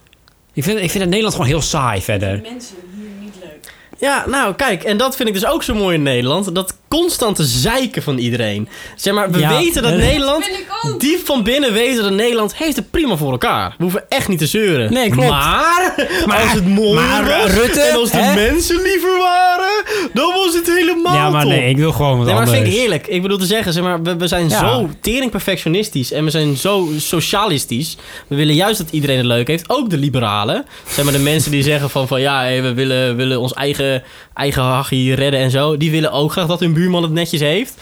[SPEAKER 1] Ik vind, ik vind het Nederland gewoon heel saai
[SPEAKER 4] De
[SPEAKER 1] verder.
[SPEAKER 4] mensen hier niet leuk.
[SPEAKER 2] Ja, nou kijk, en dat vind ik dus ook zo mooi in Nederland. Dat constante zeiken van iedereen. Zeg maar, we
[SPEAKER 1] Ja.
[SPEAKER 2] weten dat
[SPEAKER 1] Dat
[SPEAKER 2] Nederland...
[SPEAKER 4] Vind ik ook.
[SPEAKER 2] Diep van binnen weten dat Nederland heeft het prima voor elkaar. We hoeven echt niet te zeuren.
[SPEAKER 1] Nee, klopt.
[SPEAKER 2] Maar, als het mooi
[SPEAKER 1] maar
[SPEAKER 2] was
[SPEAKER 1] Rutte,
[SPEAKER 2] en als de
[SPEAKER 1] hè?
[SPEAKER 2] mensen liever waren, dan was het helemaal
[SPEAKER 1] Ja, maar
[SPEAKER 2] top.
[SPEAKER 1] nee, ik wil gewoon wat
[SPEAKER 2] Nee, maar
[SPEAKER 1] anders.
[SPEAKER 2] dat vind ik heerlijk. Ik bedoel te zeggen, zeg maar, we, we zijn
[SPEAKER 1] Ja.
[SPEAKER 2] zo tering perfectionistisch en we zijn zo socialistisch. We willen juist dat iedereen het leuk heeft, ook de liberalen. Zeg maar de mensen die zeggen van, van ja, hé, we willen, willen ons eigen, eigen hachie redden en zo. Die willen ook graag dat hun buurman het netjes heeft.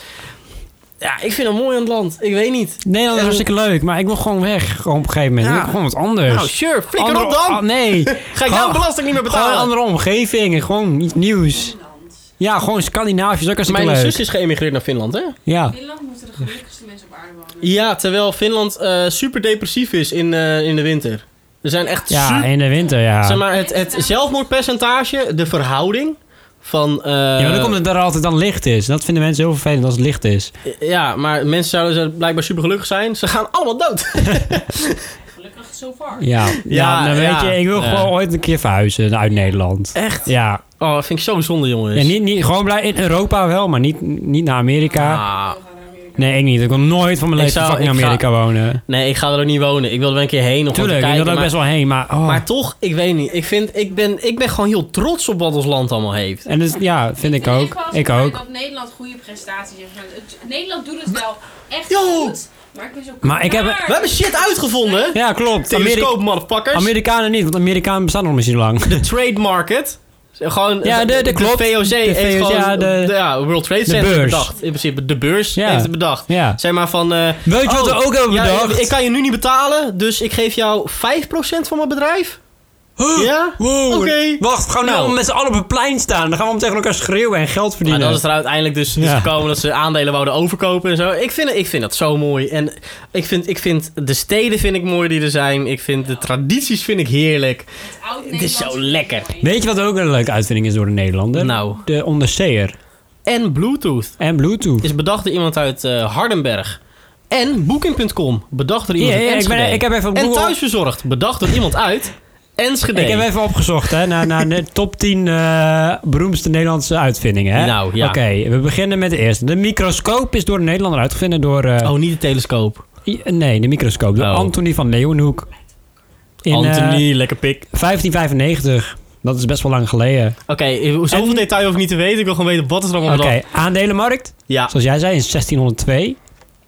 [SPEAKER 2] Ja, ik vind het mooi aan het land. Ik weet niet.
[SPEAKER 1] Nederland is
[SPEAKER 2] En-
[SPEAKER 1] hartstikke leuk, maar ik wil gewoon weg gewoon op een gegeven moment.
[SPEAKER 2] Ja.
[SPEAKER 1] Ik wil gewoon wat anders.
[SPEAKER 2] Nou, sure, flikker
[SPEAKER 1] Dus Andere-
[SPEAKER 2] op dan.
[SPEAKER 1] ah, nee.
[SPEAKER 2] Ga ik
[SPEAKER 1] Gewoon-
[SPEAKER 2] jouw belasting niet meer
[SPEAKER 1] Gewoon een
[SPEAKER 2] betalen.
[SPEAKER 1] andere omgeving en gewoon iets nieuws.
[SPEAKER 4] Finland.
[SPEAKER 1] Ja, gewoon Scandinavisch is ook hartstikke
[SPEAKER 2] Mijn
[SPEAKER 1] leuk.
[SPEAKER 2] zus is geëmigreerd naar Finland, hè?
[SPEAKER 1] Ja.
[SPEAKER 4] Finland moeten de gelukkigste mensen op aarde wonen.
[SPEAKER 2] Ja, terwijl Finland eh, super depressief is in, eh, in de winter. Er zijn echt
[SPEAKER 1] ja,
[SPEAKER 2] super
[SPEAKER 1] in de winter, ja.
[SPEAKER 2] Zeg maar, het, het zelfmoordpercentage, de verhouding Van, eh,
[SPEAKER 1] ja, maar dan komt het dat er altijd dan licht is. En dat vinden mensen heel vervelend als het licht is.
[SPEAKER 2] ja, maar mensen zouden zo blijkbaar super gelukkig zijn. Ze gaan allemaal dood.
[SPEAKER 4] Gelukkig so far.
[SPEAKER 1] Ja, ja, nou weet
[SPEAKER 2] ja.
[SPEAKER 1] je, ik wil
[SPEAKER 2] Ja.
[SPEAKER 1] gewoon ooit een keer verhuizen uit Nederland.
[SPEAKER 2] Echt? Dus-
[SPEAKER 1] Ja,
[SPEAKER 2] Oh, dat vind ik zo zonde, jongens.
[SPEAKER 1] en niet, niet, gewoon blij in Europa wel, maar niet, niet naar Amerika.
[SPEAKER 2] Ah.
[SPEAKER 4] We gaan naar Amerika.
[SPEAKER 1] Nee, ik niet. Ik wil nooit van mijn
[SPEAKER 2] Ik
[SPEAKER 1] leven
[SPEAKER 2] zou-
[SPEAKER 1] fucking in
[SPEAKER 2] ik ga-
[SPEAKER 1] Amerika wonen.
[SPEAKER 2] Nee, ik ga er ook niet wonen. Ik wil er wel een keer heen om gewoon te
[SPEAKER 1] Tuurlijk, ik wil
[SPEAKER 2] kijken.
[SPEAKER 1] er ook
[SPEAKER 2] maar,
[SPEAKER 1] best wel heen, maar... oh.
[SPEAKER 2] maar toch, ik weet niet. Ik, vind, ik, ben, ik ben gewoon heel trots op wat ons land allemaal heeft.
[SPEAKER 1] En dus, ja, vind ik
[SPEAKER 4] vind
[SPEAKER 1] ook.
[SPEAKER 4] wel
[SPEAKER 1] Ik
[SPEAKER 4] fijn
[SPEAKER 1] ook.
[SPEAKER 4] Dat Nederland goede prestaties heeft. gedaan. Het- Nederland doet het wel echt
[SPEAKER 2] Yo!
[SPEAKER 4] goed. Maar ik ben zo
[SPEAKER 1] Maar ik heb-
[SPEAKER 4] klaar.
[SPEAKER 2] We hebben shit uitgevonden.
[SPEAKER 1] Ja, klopt.
[SPEAKER 2] Telescoop,
[SPEAKER 1] Ameri-
[SPEAKER 2] motherfuckers.
[SPEAKER 1] Amerikanen niet, want Amerikanen bestaan nog misschien lang.
[SPEAKER 2] de trade market. Gewoon,
[SPEAKER 1] Ja,
[SPEAKER 2] eh,
[SPEAKER 1] de- de klopt.
[SPEAKER 2] VOC heeft
[SPEAKER 1] VOC,
[SPEAKER 2] gewoon
[SPEAKER 1] ja, de-
[SPEAKER 2] ja, World Trade
[SPEAKER 1] de
[SPEAKER 2] Center
[SPEAKER 1] beurs.
[SPEAKER 2] bedacht. In principe, de beurs
[SPEAKER 1] Ja.
[SPEAKER 2] heeft het bedacht.
[SPEAKER 1] Ja.
[SPEAKER 2] Zeg maar van... eh,
[SPEAKER 1] Weet je wat
[SPEAKER 2] oh,
[SPEAKER 1] we ook hebben
[SPEAKER 2] ja,
[SPEAKER 1] bedacht?
[SPEAKER 2] ik kan je nu niet betalen, dus ik geef jou 5% van mijn bedrijf. Ja?
[SPEAKER 1] Wow.
[SPEAKER 2] Oké.
[SPEAKER 1] Wacht, we gaan
[SPEAKER 2] Nou.
[SPEAKER 1] met z'n allen op het plein staan. Dan gaan we om tegen elkaar schreeuwen en geld
[SPEAKER 2] Maar
[SPEAKER 1] verdienen.
[SPEAKER 2] dan is er uiteindelijk dus, dus
[SPEAKER 1] Ja.
[SPEAKER 2] gekomen dat ze aandelen wouden overkopen en zo. Ik vind, ik vind dat zo mooi. En ik vind, ik vind de steden vind ik mooi die er zijn. Ik vind de tradities vind ik heerlijk.
[SPEAKER 4] Oud-Nederland
[SPEAKER 2] Het is zo lekker.
[SPEAKER 4] mooi.
[SPEAKER 1] Weet je wat ook een leuke uitvinding is door de Nederlander?
[SPEAKER 2] Nou.
[SPEAKER 1] De onderzeeër.
[SPEAKER 2] En Bluetooth.
[SPEAKER 1] En Bluetooth.
[SPEAKER 2] is bedacht door iemand uit eh, Hardenberg. En Booking.com, bedacht door iemand
[SPEAKER 1] Ja,
[SPEAKER 2] uit
[SPEAKER 1] ja, ik ben-
[SPEAKER 2] Enschede.
[SPEAKER 1] ik heb even op
[SPEAKER 2] en
[SPEAKER 1] Google-
[SPEAKER 2] Thuisbezorgd, bedacht door iemand uit Enschede.
[SPEAKER 1] Ik heb even opgezocht, hè, naar, naar de top 10 eh, beroemdste Nederlandse uitvindingen. Hè?
[SPEAKER 2] Nou, ja.
[SPEAKER 1] Oké, we beginnen met de eerste. De microscoop is door een Nederlander uitgevonden door... eh,
[SPEAKER 2] Oh, niet de telescoop.
[SPEAKER 1] i- Nee, de microscoop. Door
[SPEAKER 2] Oh.
[SPEAKER 1] Anthony van Leeuwenhoek. In eh,
[SPEAKER 2] Anthony, lekker pik.
[SPEAKER 1] 1595. Dat is best wel lang geleden.
[SPEAKER 2] Oké, eh, zoveel
[SPEAKER 1] En-
[SPEAKER 2] detail hoef ik niet te weten. Ik wil gewoon weten wat is er allemaal
[SPEAKER 1] Oké,
[SPEAKER 2] bedacht.
[SPEAKER 1] aandelenmarkt.
[SPEAKER 2] Ja.
[SPEAKER 1] Zoals jij zei, in 1602.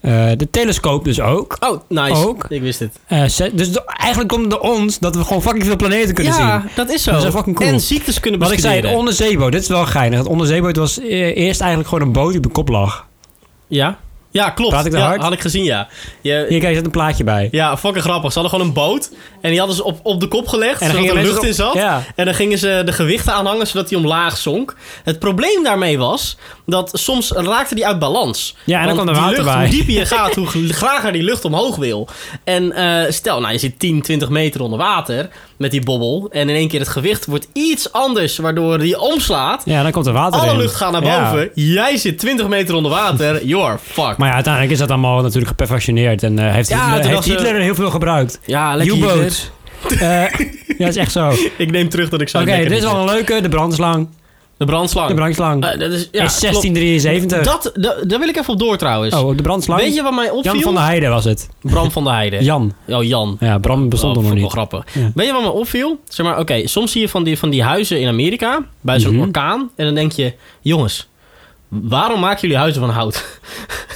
[SPEAKER 1] Eh, de telescoop dus ook.
[SPEAKER 2] Oh, nice.
[SPEAKER 1] Ook.
[SPEAKER 2] Ik wist het.
[SPEAKER 1] Eh, ze- dus de- eigenlijk komt het door ons dat we gewoon fucking veel planeten kunnen
[SPEAKER 2] ja,
[SPEAKER 1] zien.
[SPEAKER 2] dat is zo.
[SPEAKER 1] Dat is wel fucking cool.
[SPEAKER 2] En ziektes kunnen
[SPEAKER 1] Wat ik
[SPEAKER 2] bestuderen.
[SPEAKER 1] zei, de onderzeeboot. Dit is wel geinig. Het onderzeeboot was eh, eerst eigenlijk gewoon een boot die op de kop lag.
[SPEAKER 2] Ja? Ja, klopt.
[SPEAKER 1] Praat ik te
[SPEAKER 2] ja,
[SPEAKER 1] hard?
[SPEAKER 2] had ik gezien, ja. Je,
[SPEAKER 1] Hier, kijk, er zit een plaatje bij.
[SPEAKER 2] Ja, fucking grappig. Ze hadden gewoon een boot. En die hadden ze op, op de kop gelegd,
[SPEAKER 1] En dan
[SPEAKER 2] zodat er
[SPEAKER 1] gingen
[SPEAKER 2] lucht in
[SPEAKER 1] mensen
[SPEAKER 2] zat.
[SPEAKER 1] op- ja.
[SPEAKER 2] En dan gingen ze de gewichten aanhangen, zodat die omlaag zonk. Het probleem daarmee was, dat soms raakte die uit balans.
[SPEAKER 1] Ja, en dan
[SPEAKER 2] Want
[SPEAKER 1] kwam er water
[SPEAKER 2] die lucht,
[SPEAKER 1] bij.
[SPEAKER 2] Hoe dieper je gaat, hoe gl- grager die lucht omhoog wil. En eh, stel, nou, je zit 10, 20 meter onder water met die bobbel. En in één keer het gewicht wordt iets anders, waardoor die omslaat.
[SPEAKER 1] Ja, dan komt er water in.
[SPEAKER 2] Alle lucht gaat naar
[SPEAKER 1] Ja.
[SPEAKER 2] boven. Jij zit 20 meter onder water. You're fucked.
[SPEAKER 1] Maar ja, uiteindelijk is dat allemaal natuurlijk geperfectioneerd. En eh, heeft,
[SPEAKER 2] Ja,
[SPEAKER 1] Hitler,
[SPEAKER 2] toen
[SPEAKER 1] heeft
[SPEAKER 2] dacht ze-
[SPEAKER 1] Hitler er heel veel gebruikt.
[SPEAKER 2] ja,
[SPEAKER 1] U-boat. Eh, ja, dat is echt zo. Oké,
[SPEAKER 2] Ik neem terug dat ik zo
[SPEAKER 1] dit is wel een leuke. De brandslang.
[SPEAKER 2] De brandslang.
[SPEAKER 1] De brandslang.
[SPEAKER 2] Eh, dat is, ja,
[SPEAKER 1] is
[SPEAKER 2] klopt.
[SPEAKER 1] 1673.
[SPEAKER 2] Dat, dat, daar wil ik even op door trouwens.
[SPEAKER 1] Oh, de brandslang.
[SPEAKER 2] Weet je wat mij opviel?
[SPEAKER 1] Jan van der Heijden was het.
[SPEAKER 2] Bram van der Heijden.
[SPEAKER 1] Jan.
[SPEAKER 2] Oh, Jan.
[SPEAKER 1] Ja, Bram bestond
[SPEAKER 2] oh,
[SPEAKER 1] er nog
[SPEAKER 2] vond
[SPEAKER 1] niet.
[SPEAKER 2] ik wel grappig.
[SPEAKER 1] Ja.
[SPEAKER 2] Weet je wat mij opviel? Zeg maar, oké, soms zie je van die, van die huizen in Amerika bij zo'n
[SPEAKER 1] Mhm.
[SPEAKER 2] orkaan. En dan denk je, jongens, waarom maken jullie huizen van hout?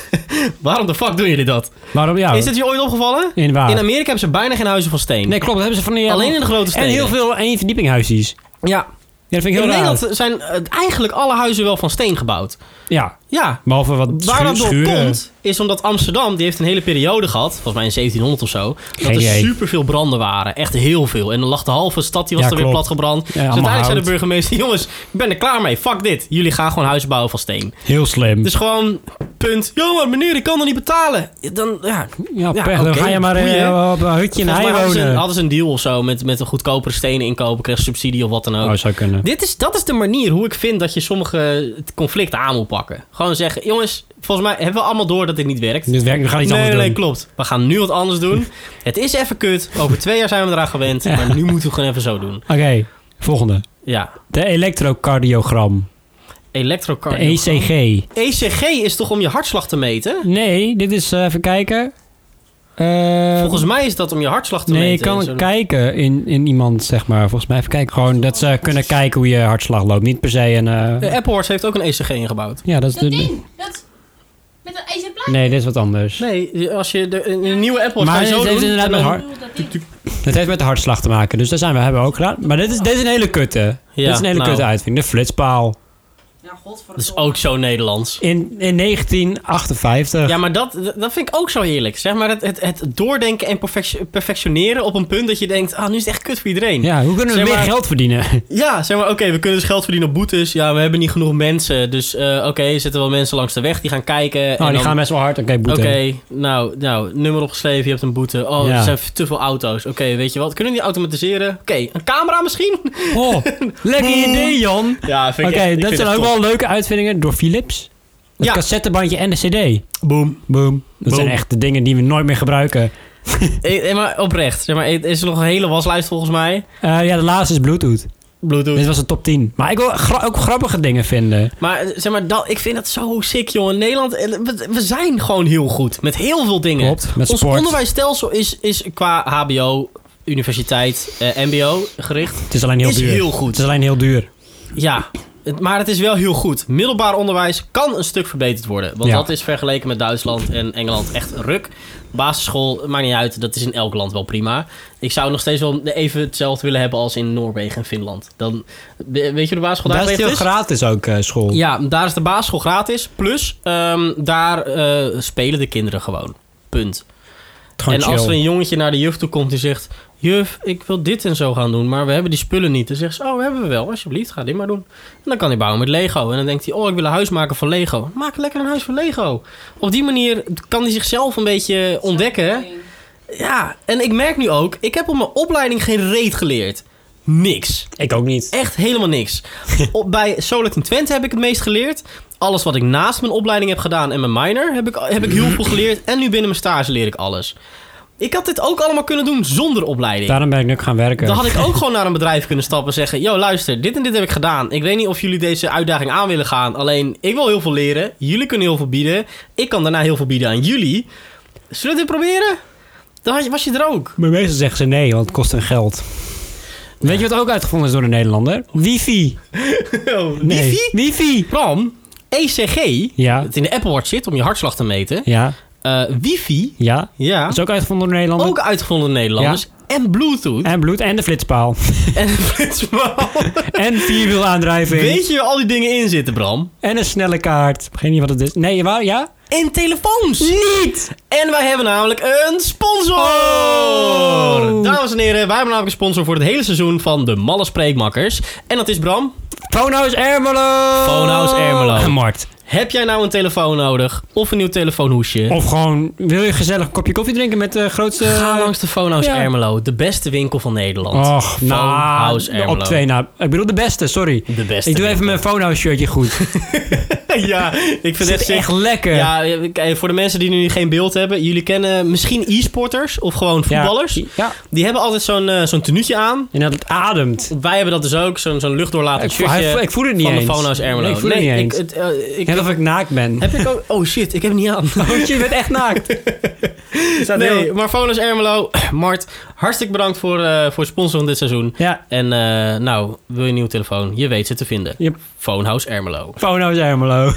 [SPEAKER 2] waarom de fuck doen jullie dat?
[SPEAKER 1] Waarom? Ja,
[SPEAKER 2] Is het je ooit opgevallen?
[SPEAKER 1] in waar.
[SPEAKER 2] In Amerika hebben ze bijna geen huizen van steen.
[SPEAKER 1] Oh. Nee, klopt. Dat hebben ze van die...
[SPEAKER 2] Alleen in de grote
[SPEAKER 1] En
[SPEAKER 2] steden.
[SPEAKER 1] heel veel één verdiepinghuisjes.
[SPEAKER 2] Ja.
[SPEAKER 1] Ja, dat vind ik
[SPEAKER 2] In
[SPEAKER 1] heel raar.
[SPEAKER 2] Nederland zijn eh, eigenlijk alle huizen wel van steen gebouwd.
[SPEAKER 1] Ja,
[SPEAKER 2] Ja,
[SPEAKER 1] behalve wat
[SPEAKER 2] Waar
[SPEAKER 1] schu-
[SPEAKER 2] dat door
[SPEAKER 1] schuren.
[SPEAKER 2] komt, is omdat Amsterdam, die heeft een hele periode gehad, volgens mij in 1700 of zo, dat
[SPEAKER 1] Geen
[SPEAKER 2] er
[SPEAKER 1] idee.
[SPEAKER 2] superveel branden waren. Echt heel veel. En dan lag de halve stad, die was
[SPEAKER 1] Ja,
[SPEAKER 2] er weer
[SPEAKER 1] klopt.
[SPEAKER 2] platgebrand. dus
[SPEAKER 1] allemaal
[SPEAKER 2] uiteindelijk zei de
[SPEAKER 1] hout.
[SPEAKER 2] burgemeester, jongens, ik ben er klaar mee. Fuck dit. Jullie gaan gewoon huizen bouwen van steen.
[SPEAKER 1] Heel slim.
[SPEAKER 2] Dus gewoon, punt. Ja, maar meneer, ik kan nog niet betalen. Dan, ja,
[SPEAKER 1] ja,
[SPEAKER 2] ja,
[SPEAKER 1] pech. Dan
[SPEAKER 2] oké,
[SPEAKER 1] ga je maar eh,
[SPEAKER 2] boeien.
[SPEAKER 1] op een hutje in
[SPEAKER 2] volgens mij
[SPEAKER 1] Heij
[SPEAKER 2] hadden ze, een,
[SPEAKER 1] wonen.
[SPEAKER 2] hadden ze een deal of zo met, met een goedkopere stenen inkopen, kreeg subsidie of wat dan ook.
[SPEAKER 1] Oh, zou kunnen.
[SPEAKER 2] Dit is, dat is de manier hoe ik vind dat je sommige conflicten aan moet pakken. Gewoon zeggen, jongens, volgens mij hebben we allemaal door dat dit niet werkt.
[SPEAKER 1] Dit werkt, we gaan iets
[SPEAKER 2] nee, nee,
[SPEAKER 1] anders
[SPEAKER 2] nee,
[SPEAKER 1] doen.
[SPEAKER 2] klopt. We gaan nu wat anders doen. Het is even kut. Over twee jaar zijn we eraan gewend. Maar nu moeten we gewoon even zo doen.
[SPEAKER 1] Oké, volgende.
[SPEAKER 2] Ja.
[SPEAKER 1] De elektrocardiogram. De
[SPEAKER 2] Elektrocardiogram.
[SPEAKER 1] ECG.
[SPEAKER 2] ECG E is toch om je hartslag te meten?
[SPEAKER 1] Nee, dit is... eh, even kijken. Eh,
[SPEAKER 2] Volgens mij is dat om je hartslag te
[SPEAKER 1] Nee, je
[SPEAKER 2] meten.
[SPEAKER 1] kan
[SPEAKER 2] Zo-
[SPEAKER 1] kijken in, in iemand, zeg maar. Volgens mij even kijken. Gewoon dat ze kunnen kijken hoe je hartslag loopt. Niet per se een... eh,
[SPEAKER 2] De Apple Watch heeft ook een ECG ingebouwd.
[SPEAKER 1] ja, dat is...
[SPEAKER 4] Dat
[SPEAKER 1] de-
[SPEAKER 4] ding. Dat, met een ijzeren plaat.
[SPEAKER 1] Nee, dit is wat anders.
[SPEAKER 2] Nee, als je de, een, een nieuwe Apple Watch
[SPEAKER 1] Maar
[SPEAKER 2] ga je zo
[SPEAKER 1] het heeft
[SPEAKER 2] doen,
[SPEAKER 1] inderdaad
[SPEAKER 2] dan-
[SPEAKER 1] met hart-
[SPEAKER 4] Ik bedoel, dat ding.
[SPEAKER 1] Dat heeft met de hartslag te maken. Dus daar zijn we, hebben we ook gedaan. Maar dit is, dit is een hele kutte.
[SPEAKER 2] Ja,
[SPEAKER 1] dit is een hele
[SPEAKER 2] nou.
[SPEAKER 1] kutte uitvinding. De flitspaal.
[SPEAKER 4] Ja, Nou, godverdomme.
[SPEAKER 2] Dat is ook zo Nederlands.
[SPEAKER 1] In, in 1958.
[SPEAKER 2] Ja, maar dat, dat vind ik ook zo heerlijk. Zeg maar het, het, het doordenken en perfectio- perfectioneren op een punt dat je denkt... Ah, nu is het echt kut voor iedereen.
[SPEAKER 1] Ja, hoe kunnen we
[SPEAKER 2] Zeg
[SPEAKER 1] meer
[SPEAKER 2] maar-
[SPEAKER 1] geld verdienen?
[SPEAKER 2] Ja, zeg maar, oké, we kunnen dus geld verdienen op boetes. Ja, we hebben niet genoeg mensen. Dus eh, oké, zetten wel mensen langs de weg. Die gaan kijken. en
[SPEAKER 1] Nou, die
[SPEAKER 2] dan-
[SPEAKER 1] gaan best wel hard. Oké, boete.
[SPEAKER 2] Oké, nou, nou, nummer opgeschreven, je hebt een boete. Oh,
[SPEAKER 1] Ja.
[SPEAKER 2] er zijn te veel auto's. Oké, weet je wat, kunnen we die automatiseren? Oké, een camera misschien?
[SPEAKER 1] Oh, lekker idee, Jan.
[SPEAKER 2] Ja,
[SPEAKER 1] Oké, dat zijn ook wel leuke uitvindingen door Philips. Het
[SPEAKER 2] Ja.
[SPEAKER 1] cassettebandje en de cd.
[SPEAKER 2] Boom.
[SPEAKER 1] Boom. Dat
[SPEAKER 2] Boom.
[SPEAKER 1] zijn echt de dingen die we nooit meer gebruiken.
[SPEAKER 2] eh, maar oprecht, zeg maar, eh, is er nog een hele waslijst volgens mij?
[SPEAKER 1] Eh, ja, de laatste is Bluetooth.
[SPEAKER 2] Bluetooth.
[SPEAKER 1] Dit was de top 10. Maar ik wil gra- ook grappige dingen vinden.
[SPEAKER 2] Maar eh, zeg maar, dat, ik vind dat zo sick, jongen. Nederland, eh, we, we zijn gewoon heel goed met heel veel dingen.
[SPEAKER 1] Klopt, met
[SPEAKER 2] Ons
[SPEAKER 1] sport.
[SPEAKER 2] onderwijsstelsel is, is qua HBO, universiteit, eh, MBO gericht.
[SPEAKER 1] Het is alleen heel
[SPEAKER 2] is
[SPEAKER 1] duur.
[SPEAKER 2] heel goed.
[SPEAKER 1] Het is alleen heel duur.
[SPEAKER 2] Ja, het- maar het is wel heel goed. Middelbaar onderwijs kan een stuk verbeterd worden. Want
[SPEAKER 1] Ja.
[SPEAKER 2] dat is vergeleken met Duitsland en Engeland echt ruk. Basisschool, maakt niet uit, dat is in elk land wel prima. Ik zou nog steeds wel even hetzelfde willen hebben als in Noorwegen en Finland. Dan, we- weet je hoe de basisschool daar
[SPEAKER 1] Daar is het
[SPEAKER 2] geregeld
[SPEAKER 1] heel
[SPEAKER 2] is?
[SPEAKER 1] gratis ook, eh, school.
[SPEAKER 2] Ja, daar is de basisschool gratis. Plus, ehm, daar eh, spelen de kinderen gewoon. Punt.
[SPEAKER 1] Gewoon
[SPEAKER 2] en
[SPEAKER 1] chill.
[SPEAKER 2] als er een jongetje naar de juf toe komt die zegt... Juf, ik wil dit en zo gaan doen, maar we hebben die spullen niet. Dan zegt ze, oh, hebben we wel. Alsjeblieft, ga dit maar doen. En dan kan hij bouwen met Lego. En dan denkt hij, oh, ik wil een huis maken van Lego. Maak lekker een huis van Lego. Op die manier kan hij zichzelf een beetje ontdekken. Ja, en ik merk nu ook, ik heb op mijn opleiding geen reet geleerd. Niks.
[SPEAKER 1] Ik ook niet.
[SPEAKER 2] Echt helemaal niks. Op, bij Solid in Twente heb ik het meest geleerd. Alles wat ik naast mijn opleiding heb gedaan en mijn minor heb ik, heb ik heel veel geleerd. En nu binnen mijn stage leer ik alles. Ik had dit ook allemaal kunnen doen zonder opleiding.
[SPEAKER 1] Daarom ben ik nu ook gaan werken.
[SPEAKER 2] Dan had ik ook gewoon naar een bedrijf kunnen stappen en zeggen... Yo, luister, dit en dit heb ik gedaan. Ik weet niet of jullie deze uitdaging aan willen gaan. Alleen, ik wil heel veel leren. Jullie kunnen heel veel bieden. Ik kan daarna heel veel bieden aan jullie. Zullen we dit proberen? Dan had je- was je er ook.
[SPEAKER 1] Maar meestal zeggen ze nee, want het kost hun geld. Weet je wat ook uitgevonden is door een Nederlander? Wifi. Oh, Nee.
[SPEAKER 2] Wifi? E
[SPEAKER 1] Wifi.
[SPEAKER 2] Ram, ECG,
[SPEAKER 1] Ja.
[SPEAKER 2] dat in de Apple Watch zit om je hartslag te meten.
[SPEAKER 1] Ja,
[SPEAKER 2] Eh, wifi,
[SPEAKER 1] ja.
[SPEAKER 2] ja,
[SPEAKER 1] Dat is ook uitgevonden door een Nederlander.
[SPEAKER 2] ook uitgevonden door Nederlanders. En Bluetooth.
[SPEAKER 1] En bloed en de flitspaal.
[SPEAKER 2] En flitspaal.
[SPEAKER 1] en vierwielaandrijving.
[SPEAKER 2] Weet je waar al die dingen in zitten, Bram?
[SPEAKER 1] En een snelle kaart. Ik weet niet wat het is. Nee, waar? Ja?
[SPEAKER 2] En telefoons. Niet. En wij hebben namelijk een sponsor.
[SPEAKER 1] Oh.
[SPEAKER 2] Dames en heren, wij hebben namelijk een sponsor voor het hele seizoen van de Malle Spreekmakkers. En dat is Bram.
[SPEAKER 1] Phonehouse Ermelo!
[SPEAKER 2] Phonehouse Ermelo.
[SPEAKER 1] Een markt.
[SPEAKER 2] Heb jij nou een telefoon nodig? Of een nieuw telefoonhoesje?
[SPEAKER 1] Of gewoon, wil je gezellig een kopje koffie drinken met de grootste...
[SPEAKER 2] Ga langs de Phonehouse
[SPEAKER 1] ja.
[SPEAKER 2] Ermelo, de beste winkel van Nederland.
[SPEAKER 1] Och, nou,
[SPEAKER 2] Phonehouse Ermelo.
[SPEAKER 1] op twee na. Ik bedoel de beste, sorry.
[SPEAKER 2] De beste
[SPEAKER 1] Ik doe even
[SPEAKER 2] winkel.
[SPEAKER 1] mijn Phonehouse shirtje goed.
[SPEAKER 2] ja, ik vind
[SPEAKER 1] Het is
[SPEAKER 2] het
[SPEAKER 1] echt lekker.
[SPEAKER 2] Ja, kijk, voor de mensen die nu geen beeld hebben, jullie kennen misschien e-sporters of gewoon voetballers.
[SPEAKER 1] Ja. ja.
[SPEAKER 2] Die hebben altijd zo'n eh zo'n tenuutje aan.
[SPEAKER 1] En dat het ademt.
[SPEAKER 2] Wij hebben dat dus ook, zo'n zo'n luchtdoorlatend
[SPEAKER 1] Ik voel- hij
[SPEAKER 2] shirtje
[SPEAKER 1] voel- ik voel het niet
[SPEAKER 2] van
[SPEAKER 1] eens.
[SPEAKER 2] de Phono's Ermelo.
[SPEAKER 1] Nee, ik voel het niet eens.
[SPEAKER 2] het, eh, ik-
[SPEAKER 1] Net of ik naakt ben.
[SPEAKER 2] heb ik ook... Oh shit, ik heb het niet aan.
[SPEAKER 1] Want je bent echt naakt. Er staat
[SPEAKER 2] Nee,
[SPEAKER 1] heel-
[SPEAKER 2] maar Phono's Ermelo, Mart, hartstikke bedankt voor, eh, voor het sponsoren van dit seizoen.
[SPEAKER 1] Ja,
[SPEAKER 2] En eh, nou, wil je een nieuwe telefoon? Je weet ze te vinden.
[SPEAKER 1] Yep.
[SPEAKER 2] Phonehouse Ermelo.
[SPEAKER 1] Phonehouse Ermelo.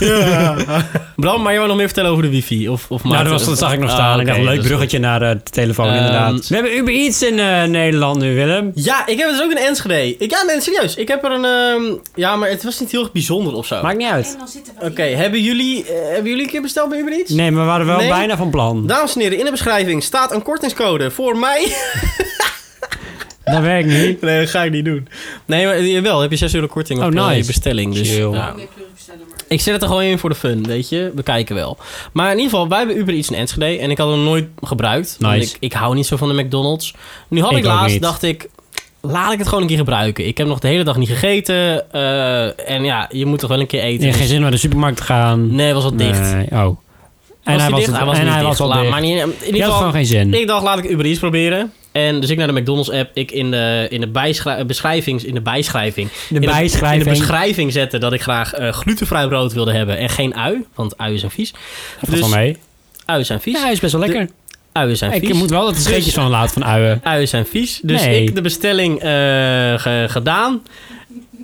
[SPEAKER 2] Bram, maar je wou nog meer vertellen over de wifi? Of, of
[SPEAKER 1] Nou,
[SPEAKER 2] Maarten?
[SPEAKER 1] dat, was, dat zag ik nog
[SPEAKER 2] Ah,
[SPEAKER 1] staan. ik
[SPEAKER 2] oké,
[SPEAKER 1] dacht, een leuk
[SPEAKER 2] dat is goed.
[SPEAKER 1] bruggetje naar eh, de telefoon,
[SPEAKER 2] Ehm,
[SPEAKER 1] inderdaad. We hebben Uber Eats in eh, Nederland nu, Willem.
[SPEAKER 2] Ja, ik heb het dus ook in Enschede. Ik, ja, nee, serieus. Ik heb er een... ehm, ja, maar het was niet heel erg bijzonder of zo.
[SPEAKER 1] Maakt niet uit.
[SPEAKER 4] En dan zitten we
[SPEAKER 2] Oké, hebben, jullie, eh, hebben jullie een keer besteld bij Uber Eats?
[SPEAKER 1] Nee, maar we waren wel
[SPEAKER 2] Nee.
[SPEAKER 1] bijna van plan.
[SPEAKER 2] Dames en heren, in de beschrijving staat een kortingscode voor mij.
[SPEAKER 1] Dat werkt niet.
[SPEAKER 2] Nee, dat ga ik niet doen. Nee, maar eh, wel, heb je 6 euro korting op
[SPEAKER 1] Oh,
[SPEAKER 2] eh, je
[SPEAKER 1] nice.
[SPEAKER 2] bestelling. Dus,
[SPEAKER 1] Chill.
[SPEAKER 2] ja.
[SPEAKER 4] ook weer kleurig bestellen, maar...
[SPEAKER 2] Ik zet het er gewoon in voor de fun, weet je. We kijken wel. Maar in ieder geval, wij hebben Uber Eats in Enschede. En ik had hem nooit gebruikt. Want
[SPEAKER 1] Nice.
[SPEAKER 2] ik, ik hou niet zo van de McDonald's. Nu had ik,
[SPEAKER 1] Ik ook
[SPEAKER 2] laatst,
[SPEAKER 1] niet.
[SPEAKER 2] dacht ik... Laat ik het gewoon een keer gebruiken. Ik heb nog de hele dag niet gegeten. eh, en ja, je moet toch wel een keer eten. Dus
[SPEAKER 1] Ja, geen zin om naar de supermarkt te gaan.
[SPEAKER 2] Nee, was al dicht. Was
[SPEAKER 1] Nee, Oh. En
[SPEAKER 2] die
[SPEAKER 1] hij was,
[SPEAKER 2] dicht?
[SPEAKER 1] het-
[SPEAKER 2] hij was
[SPEAKER 1] en
[SPEAKER 2] niet
[SPEAKER 1] hij
[SPEAKER 2] dicht.
[SPEAKER 1] was al
[SPEAKER 2] Laat
[SPEAKER 1] dicht.
[SPEAKER 2] maar niet- in ieder
[SPEAKER 1] Je had
[SPEAKER 2] geval-
[SPEAKER 1] gewoon geen zin.
[SPEAKER 2] ik dacht, laat ik Uber Eats proberen. En dus ik naar de McDonald's app. Ik in de, in de bijschri- beschrijving... In de bijschrijving.
[SPEAKER 1] De
[SPEAKER 2] in
[SPEAKER 1] bijschrijving.
[SPEAKER 2] In de beschrijving zetten dat ik graag eh, glutenvrij brood wilde hebben. En geen ui, want uien zijn vies. Dus
[SPEAKER 1] Dat valt wel mee.
[SPEAKER 2] Uien zijn vies.
[SPEAKER 1] Ja, hij is best wel lekker.
[SPEAKER 2] Uien zijn vies.
[SPEAKER 1] Ik moet wel dat de scheetjes van laten van uien.
[SPEAKER 2] Uien zijn vies. Dus
[SPEAKER 1] Nee.
[SPEAKER 2] ik de bestelling eh, ge- gedaan.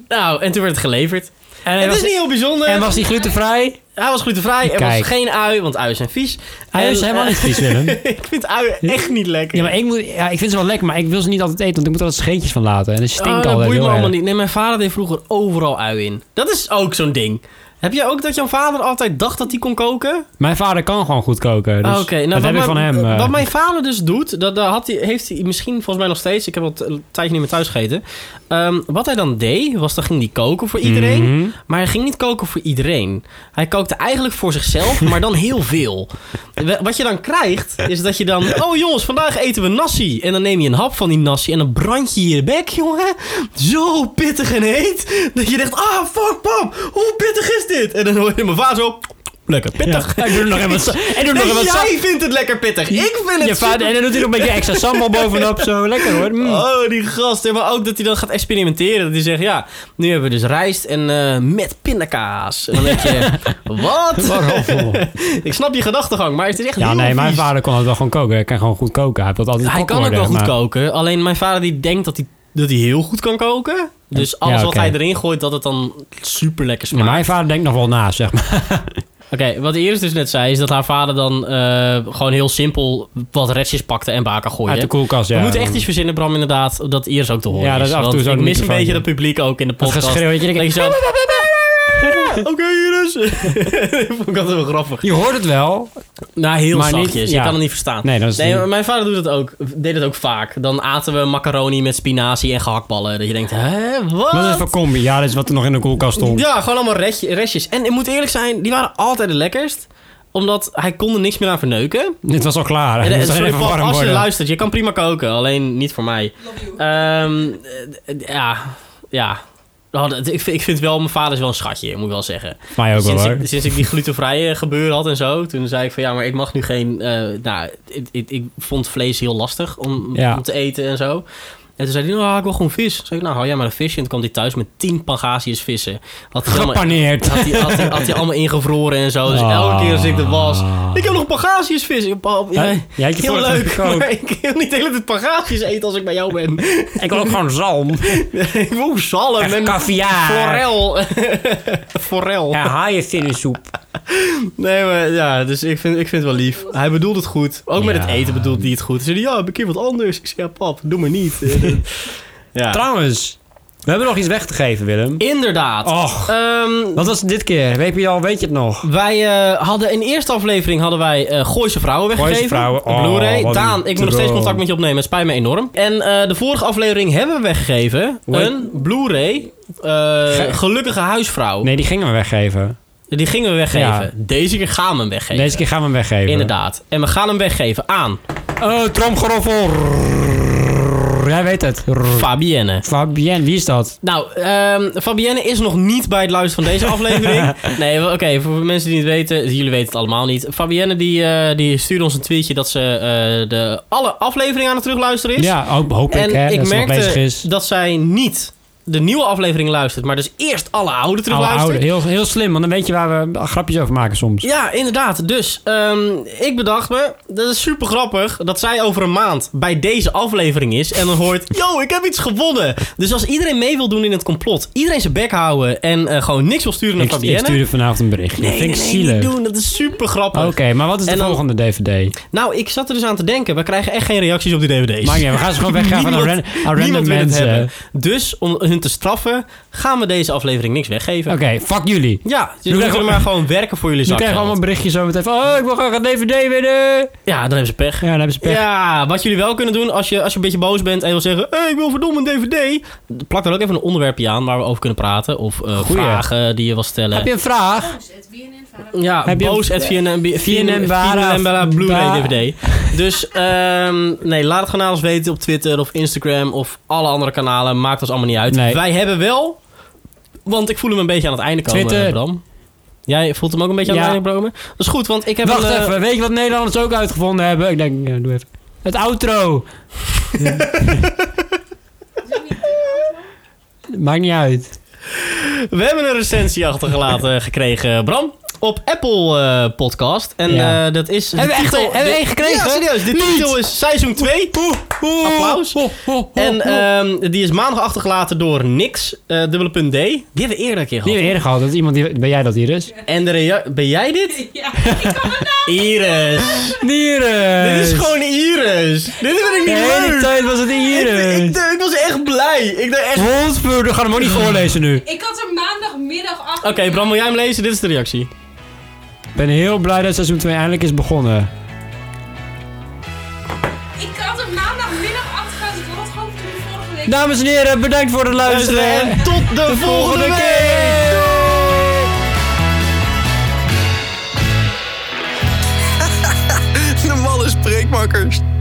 [SPEAKER 2] Nou, en toen werd het geleverd.
[SPEAKER 1] En, hij
[SPEAKER 2] het
[SPEAKER 1] was,
[SPEAKER 2] is niet heel bijzonder.
[SPEAKER 1] en was die glutenvrij?
[SPEAKER 2] Hij was glutenvrij. Er
[SPEAKER 1] Kijk.
[SPEAKER 2] was geen ui, want uien zijn vies.
[SPEAKER 1] Hij is
[SPEAKER 2] En,
[SPEAKER 1] helemaal
[SPEAKER 2] eh,
[SPEAKER 1] niet vies, Willem.
[SPEAKER 2] ik vind uien echt niet lekker.
[SPEAKER 1] Ja, maar ik, moet, ja, ik vind ze wel lekker, maar ik wil ze niet altijd eten, want ik moet er wat scheetjes van laten. En dat
[SPEAKER 2] Oh,
[SPEAKER 1] stinkt
[SPEAKER 2] dat
[SPEAKER 1] altijd
[SPEAKER 2] boeit me
[SPEAKER 1] heel
[SPEAKER 2] allemaal
[SPEAKER 1] erg.
[SPEAKER 2] niet. Nee, mijn vader deed vroeger overal ui in. Dat is ook zo'n ding. Heb jij ook dat jouw vader altijd dacht dat hij kon koken?
[SPEAKER 1] Mijn vader kan gewoon goed koken, dus
[SPEAKER 2] Ah, oké. Nou,
[SPEAKER 1] dat
[SPEAKER 2] wat
[SPEAKER 1] heb ik van
[SPEAKER 2] mijn-
[SPEAKER 1] hem. eh.
[SPEAKER 2] Wat mijn vader dus doet, dat, dat had hij, heeft hij misschien volgens mij nog steeds... Ik heb al t- een tijdje niet meer thuis gegeten. Ehm, wat hij dan deed, was dan ging hij koken voor iedereen.
[SPEAKER 1] Mhm.
[SPEAKER 2] Maar hij ging niet koken voor iedereen. Hij kookte eigenlijk voor zichzelf, maar dan heel veel. We- Wat je dan krijgt, is dat je dan... Oh jongens, vandaag eten we nasi. En dan neem je een hap van die nasi en dan brand je je bek, jongen. Zo pittig en heet. Dat je denkt, ah, fuck pap, hoe pittig is dit? En dan hoor je mijn vader zo... Lekker pittig.
[SPEAKER 1] Ja, ik doe er nog even wat, sa- ik doe er nog
[SPEAKER 2] Nee,
[SPEAKER 1] even wat sa-
[SPEAKER 2] jij vindt het lekker pittig. Ik vind het
[SPEAKER 1] Je vader, en dan doet hij nog een beetje extra sambal bovenop, zo lekker hoor. Mm.
[SPEAKER 2] super- Oh, die gast. Ja, Maar ook dat hij dan gaat experimenteren. Dat hij zegt, ja, nu hebben we dus rijst en eh, met pindakaas. En dan denk je, wat? Ik snap je gedachtegang, maar het is echt
[SPEAKER 1] Ja,
[SPEAKER 2] heel
[SPEAKER 1] nee, mijn
[SPEAKER 2] vies.
[SPEAKER 1] vader kon het wel gewoon koken. Hij kan gewoon goed koken. Hij, wil altijd
[SPEAKER 2] Hij
[SPEAKER 1] kok
[SPEAKER 2] kan ook wel
[SPEAKER 1] worden,
[SPEAKER 2] goed
[SPEAKER 1] maar-
[SPEAKER 2] koken. Alleen mijn vader die denkt dat hij, dat hij heel goed kan koken. Dus alles wat
[SPEAKER 1] oké.
[SPEAKER 2] hij erin gooit, dat het dan super lekker
[SPEAKER 1] Ja,
[SPEAKER 2] smaakt.
[SPEAKER 1] mijn vader denkt nog wel na, zeg maar.
[SPEAKER 2] Oké, wat Iris dus net zei, is dat haar vader dan eh, gewoon heel simpel wat restjes pakte en baken gooide.
[SPEAKER 1] Uit de koelkast, ja.
[SPEAKER 2] We moeten echt iets verzinnen, Bram, inderdaad, dat Iris ook te horen
[SPEAKER 1] Ja, dat is af en toe
[SPEAKER 2] Want
[SPEAKER 1] zo
[SPEAKER 2] Ik
[SPEAKER 1] de
[SPEAKER 2] mis een
[SPEAKER 1] microfoon.
[SPEAKER 2] beetje dat publiek ook in de
[SPEAKER 1] Dat
[SPEAKER 2] podcast.
[SPEAKER 1] geschreeuw, weet je.
[SPEAKER 2] Dat
[SPEAKER 1] denk
[SPEAKER 2] je
[SPEAKER 1] ik-
[SPEAKER 2] zo... Oké, Iris. dat vond ik altijd wel grappig.
[SPEAKER 1] Je hoort het wel.
[SPEAKER 2] Nou, heel
[SPEAKER 1] Maar niet-
[SPEAKER 2] zachtjes. Je
[SPEAKER 1] ja.
[SPEAKER 2] kan het niet verstaan.
[SPEAKER 1] Nee, dat is
[SPEAKER 2] Nee,
[SPEAKER 1] niet-
[SPEAKER 2] maar mijn vader doet dat ook, deed dat ook vaak. Dan aten we macaroni met spinazie en gehaktballen. Dat je denkt, hè, wat?
[SPEAKER 1] Wat is het voor combi? Ja, dat is wat er nog in de koelkast stond.
[SPEAKER 2] Ah. Ja, gewoon allemaal restje- restjes. En ik moet eerlijk zijn, die waren altijd de lekkerst. Omdat hij kon er niks meer aan verneuken.
[SPEAKER 1] Dit was al klaar.
[SPEAKER 2] En,
[SPEAKER 1] Dit
[SPEAKER 2] en
[SPEAKER 1] was
[SPEAKER 2] sorry,
[SPEAKER 1] even
[SPEAKER 2] Paul,
[SPEAKER 1] warm
[SPEAKER 2] als je
[SPEAKER 1] worden.
[SPEAKER 2] luistert, je kan prima koken, alleen niet voor mij.
[SPEAKER 4] Love you.
[SPEAKER 2] Ehm, eh, d- ja, ja. Nou, dat- Ik vind, ik vind wel, mijn vader is wel een schatje, moet ik wel zeggen.
[SPEAKER 1] Mij ook wel
[SPEAKER 2] Sinds
[SPEAKER 1] hoor.
[SPEAKER 2] ik, sinds ik die glutenvrije gebeuren had en zo, toen zei ik van ja, maar ik mag nu geen. eh, nou, ik, ik, ik vond vlees heel lastig om,
[SPEAKER 1] Ja.
[SPEAKER 2] om te eten en zo. En toen zei hij, nou, ik wil gewoon vis. Zei ik, nou, hou jij maar een visje. En toen kwam hij thuis met tien pangasius vissen. Had hij allemaal-
[SPEAKER 1] Gepaneerd.
[SPEAKER 2] had hij, had, hij, had hij allemaal ingevroren en zo. Dus
[SPEAKER 1] Ah.
[SPEAKER 2] elke keer als ik er was. Ik heb nog pangasiusvis. Ik- Pap,
[SPEAKER 1] Hè?
[SPEAKER 2] ja,
[SPEAKER 1] Jij hebt je
[SPEAKER 2] heel
[SPEAKER 1] vorige
[SPEAKER 2] leuk.
[SPEAKER 1] keer gekookt.
[SPEAKER 2] maar ik wil niet de hele tijd pangasius eten als ik bij jou ben.
[SPEAKER 1] Ik wil ook gewoon zalm.
[SPEAKER 2] ik wil zalm
[SPEAKER 1] En
[SPEAKER 2] en
[SPEAKER 1] kaviaar.
[SPEAKER 2] forel. forel.
[SPEAKER 1] En haaienvinnensoep.
[SPEAKER 2] Nee, maar ja, dus ik vind, ik vind het wel lief. Hij bedoelt het goed. Ook met
[SPEAKER 1] Ja.
[SPEAKER 2] het eten bedoelt hij het goed. Ze zei, ja, heb ik hier wat anders? Ik zei, ja, pap, doe maar niet. ja.
[SPEAKER 1] Trouwens, we hebben nog iets weg te geven, Willem.
[SPEAKER 2] Inderdaad.
[SPEAKER 1] Och,
[SPEAKER 2] Ehm,
[SPEAKER 1] wat was het dit keer? Weet je, al, weet je het nog?
[SPEAKER 2] Wij eh, hadden in eerste aflevering hadden wij eh Gooise Vrouwen weggegeven.
[SPEAKER 1] Gooise Vrouwen,
[SPEAKER 2] Een
[SPEAKER 1] oh,
[SPEAKER 2] Blu-ray.
[SPEAKER 1] wat
[SPEAKER 2] Daan,
[SPEAKER 1] een
[SPEAKER 2] ik moet nog steeds
[SPEAKER 1] droom.
[SPEAKER 2] contact met je opnemen. Het spijt me enorm. En eh, de vorige aflevering hebben we weggegeven.
[SPEAKER 1] Hoe heet-
[SPEAKER 2] Een Blu-ray. eh, gelukkige huisvrouw.
[SPEAKER 1] Nee, die gingen we weggeven.
[SPEAKER 2] Die gingen we weggeven.
[SPEAKER 1] Ja.
[SPEAKER 2] Deze keer gaan we hem weggeven.
[SPEAKER 1] Deze keer gaan we hem weggeven.
[SPEAKER 2] Inderdaad. En we gaan hem weggeven aan
[SPEAKER 1] Oh, tromgeroffel. Jij weet het.
[SPEAKER 2] Fabienne.
[SPEAKER 1] Fabienne, wie is dat?
[SPEAKER 2] Nou, ehm, Fabienne is nog niet bij het luisteren van deze aflevering. nee, wel, oké, voor mensen die het weten, jullie weten het allemaal niet. Fabienne die, eh, die stuurde ons een tweetje dat ze eh, de alle afleveringen aan het terugluisteren is.
[SPEAKER 1] Ja, hoop, hoop ik, hè,
[SPEAKER 2] en ik,
[SPEAKER 1] dat ze nog bezig
[SPEAKER 2] merkte
[SPEAKER 1] is.
[SPEAKER 2] dat zij niet de nieuwe aflevering luistert, maar dus eerst alle oude
[SPEAKER 1] Oude,
[SPEAKER 2] terugluistert.
[SPEAKER 1] oude. heel, heel slim, want dan weet je waar we grapjes over maken soms.
[SPEAKER 2] Ja, inderdaad. Dus ehm, ik bedacht me, dat is super grappig dat zij over een maand bij deze aflevering is en dan hoort, yo, ik heb iets gewonnen. Dus als iedereen mee wil doen in het complot, iedereen zijn bek houden en eh, gewoon niks wil sturen naar
[SPEAKER 1] Ik, ik
[SPEAKER 2] Fabienne.
[SPEAKER 1] stuurde vanavond een berichtje.
[SPEAKER 2] Nee,
[SPEAKER 1] dat vind ik
[SPEAKER 2] nee, nee,
[SPEAKER 1] zielig.
[SPEAKER 2] niet doen. Dat is super grappig.
[SPEAKER 1] Oké, maar wat is de
[SPEAKER 2] En dan-
[SPEAKER 1] volgende DVD?
[SPEAKER 2] Nou, ik zat er dus aan te denken. We krijgen echt geen reacties op die dvd's.
[SPEAKER 1] Maar ja, we gaan ze gewoon weggaan van aan ran- aan random
[SPEAKER 2] Niemand wil het
[SPEAKER 1] mensen.
[SPEAKER 2] hebben.
[SPEAKER 1] Oké,
[SPEAKER 2] Dus om hun te straffen, gaan we deze aflevering niks weggeven.
[SPEAKER 1] fuck jullie.
[SPEAKER 2] Ja, dus
[SPEAKER 1] krijgen
[SPEAKER 2] jullie moeten
[SPEAKER 1] we-
[SPEAKER 2] maar gewoon werken voor jullie
[SPEAKER 1] Dus
[SPEAKER 2] zak.
[SPEAKER 1] krijgen we allemaal berichtjes over het even. Oh, ik wil graag een DVD winnen.
[SPEAKER 2] Ja, dan hebben ze pech.
[SPEAKER 1] Ja, dan hebben ze pech.
[SPEAKER 2] Ja, wat jullie wel kunnen doen als je, als je een beetje boos bent en je wil zeggen: hey, ik wil verdomme een DVD. Plak er ook even een onderwerpje aan waar we over kunnen praten. Of eh,
[SPEAKER 1] Goeie.
[SPEAKER 2] vragen die je wil stellen.
[SPEAKER 1] Heb je een vraag?
[SPEAKER 4] Boos, het BNN verhaal.
[SPEAKER 2] Ja,
[SPEAKER 1] Heb je eh,
[SPEAKER 2] boos
[SPEAKER 1] een-
[SPEAKER 2] at VNM,
[SPEAKER 1] VNM Bara-
[SPEAKER 2] Blu-ray
[SPEAKER 1] Ba-
[SPEAKER 2] DVD. Dus ehm, nee, laat het kanaal eens weten op Twitter of Instagram of alle andere kanalen. Maakt ons allemaal niet uit.
[SPEAKER 1] Nee.
[SPEAKER 2] Wij hebben wel, want ik voel hem een beetje aan het einde komen,
[SPEAKER 1] Twitter.
[SPEAKER 2] Bram. Jij voelt hem ook een beetje aan
[SPEAKER 1] Ja.
[SPEAKER 2] het einde komen? Dat is goed, want ik heb
[SPEAKER 1] Wacht
[SPEAKER 2] een... eh,
[SPEAKER 1] even, weet je wat Nederlanders ook uitgevonden hebben? Ik denk, ja, doe even. Het outro. Maakt niet uit.
[SPEAKER 2] We hebben een recensie achtergelaten gekregen, Bram. op Apple eh, Podcast. En
[SPEAKER 1] Ja.
[SPEAKER 2] eh, dat is...
[SPEAKER 1] Hebben we echt een- hebben we een gekregen?
[SPEAKER 2] Ja, serieus. De
[SPEAKER 1] Niet.
[SPEAKER 2] titel is seizoen 2. Applaus. En
[SPEAKER 1] eh,
[SPEAKER 2] ehm, die is maandag achtergelaten door Nix, eh dubbele punt D. Die hebben we eerder een keer
[SPEAKER 1] Die
[SPEAKER 2] gehad.
[SPEAKER 1] hebben we eerder gehad. Dat is iemand die, ben jij dat, Iris?
[SPEAKER 2] En de rea- Ben jij dit?
[SPEAKER 4] Ja, ik kan het nou.
[SPEAKER 2] Iris.
[SPEAKER 1] Iris!
[SPEAKER 2] Dit is gewoon Iris. Dit vind ik
[SPEAKER 1] De
[SPEAKER 2] niet
[SPEAKER 1] hele
[SPEAKER 2] leuk.
[SPEAKER 1] tijd was het
[SPEAKER 2] Ik, ik,
[SPEAKER 1] Iris.
[SPEAKER 2] ik was echt blij. Ik dacht echt...
[SPEAKER 1] Hondspeur, we gaan hem ook niet voorlezen nu.
[SPEAKER 4] Ik had er maandagmiddag achter.
[SPEAKER 2] Oké, Bram, wil jij hem lezen? Dit is de reactie.
[SPEAKER 1] Ik ben heel blij dat seizoen 2 eindelijk is begonnen.
[SPEAKER 4] Ik had er maandagmiddag achter. gehad. Ik had het gewoon toen vorige
[SPEAKER 2] Nou,
[SPEAKER 4] week.
[SPEAKER 1] Dames en heren, bedankt voor het luisteren.
[SPEAKER 2] En tot de, volgende
[SPEAKER 1] volgende
[SPEAKER 2] keer.
[SPEAKER 3] De malle spreekmakkers.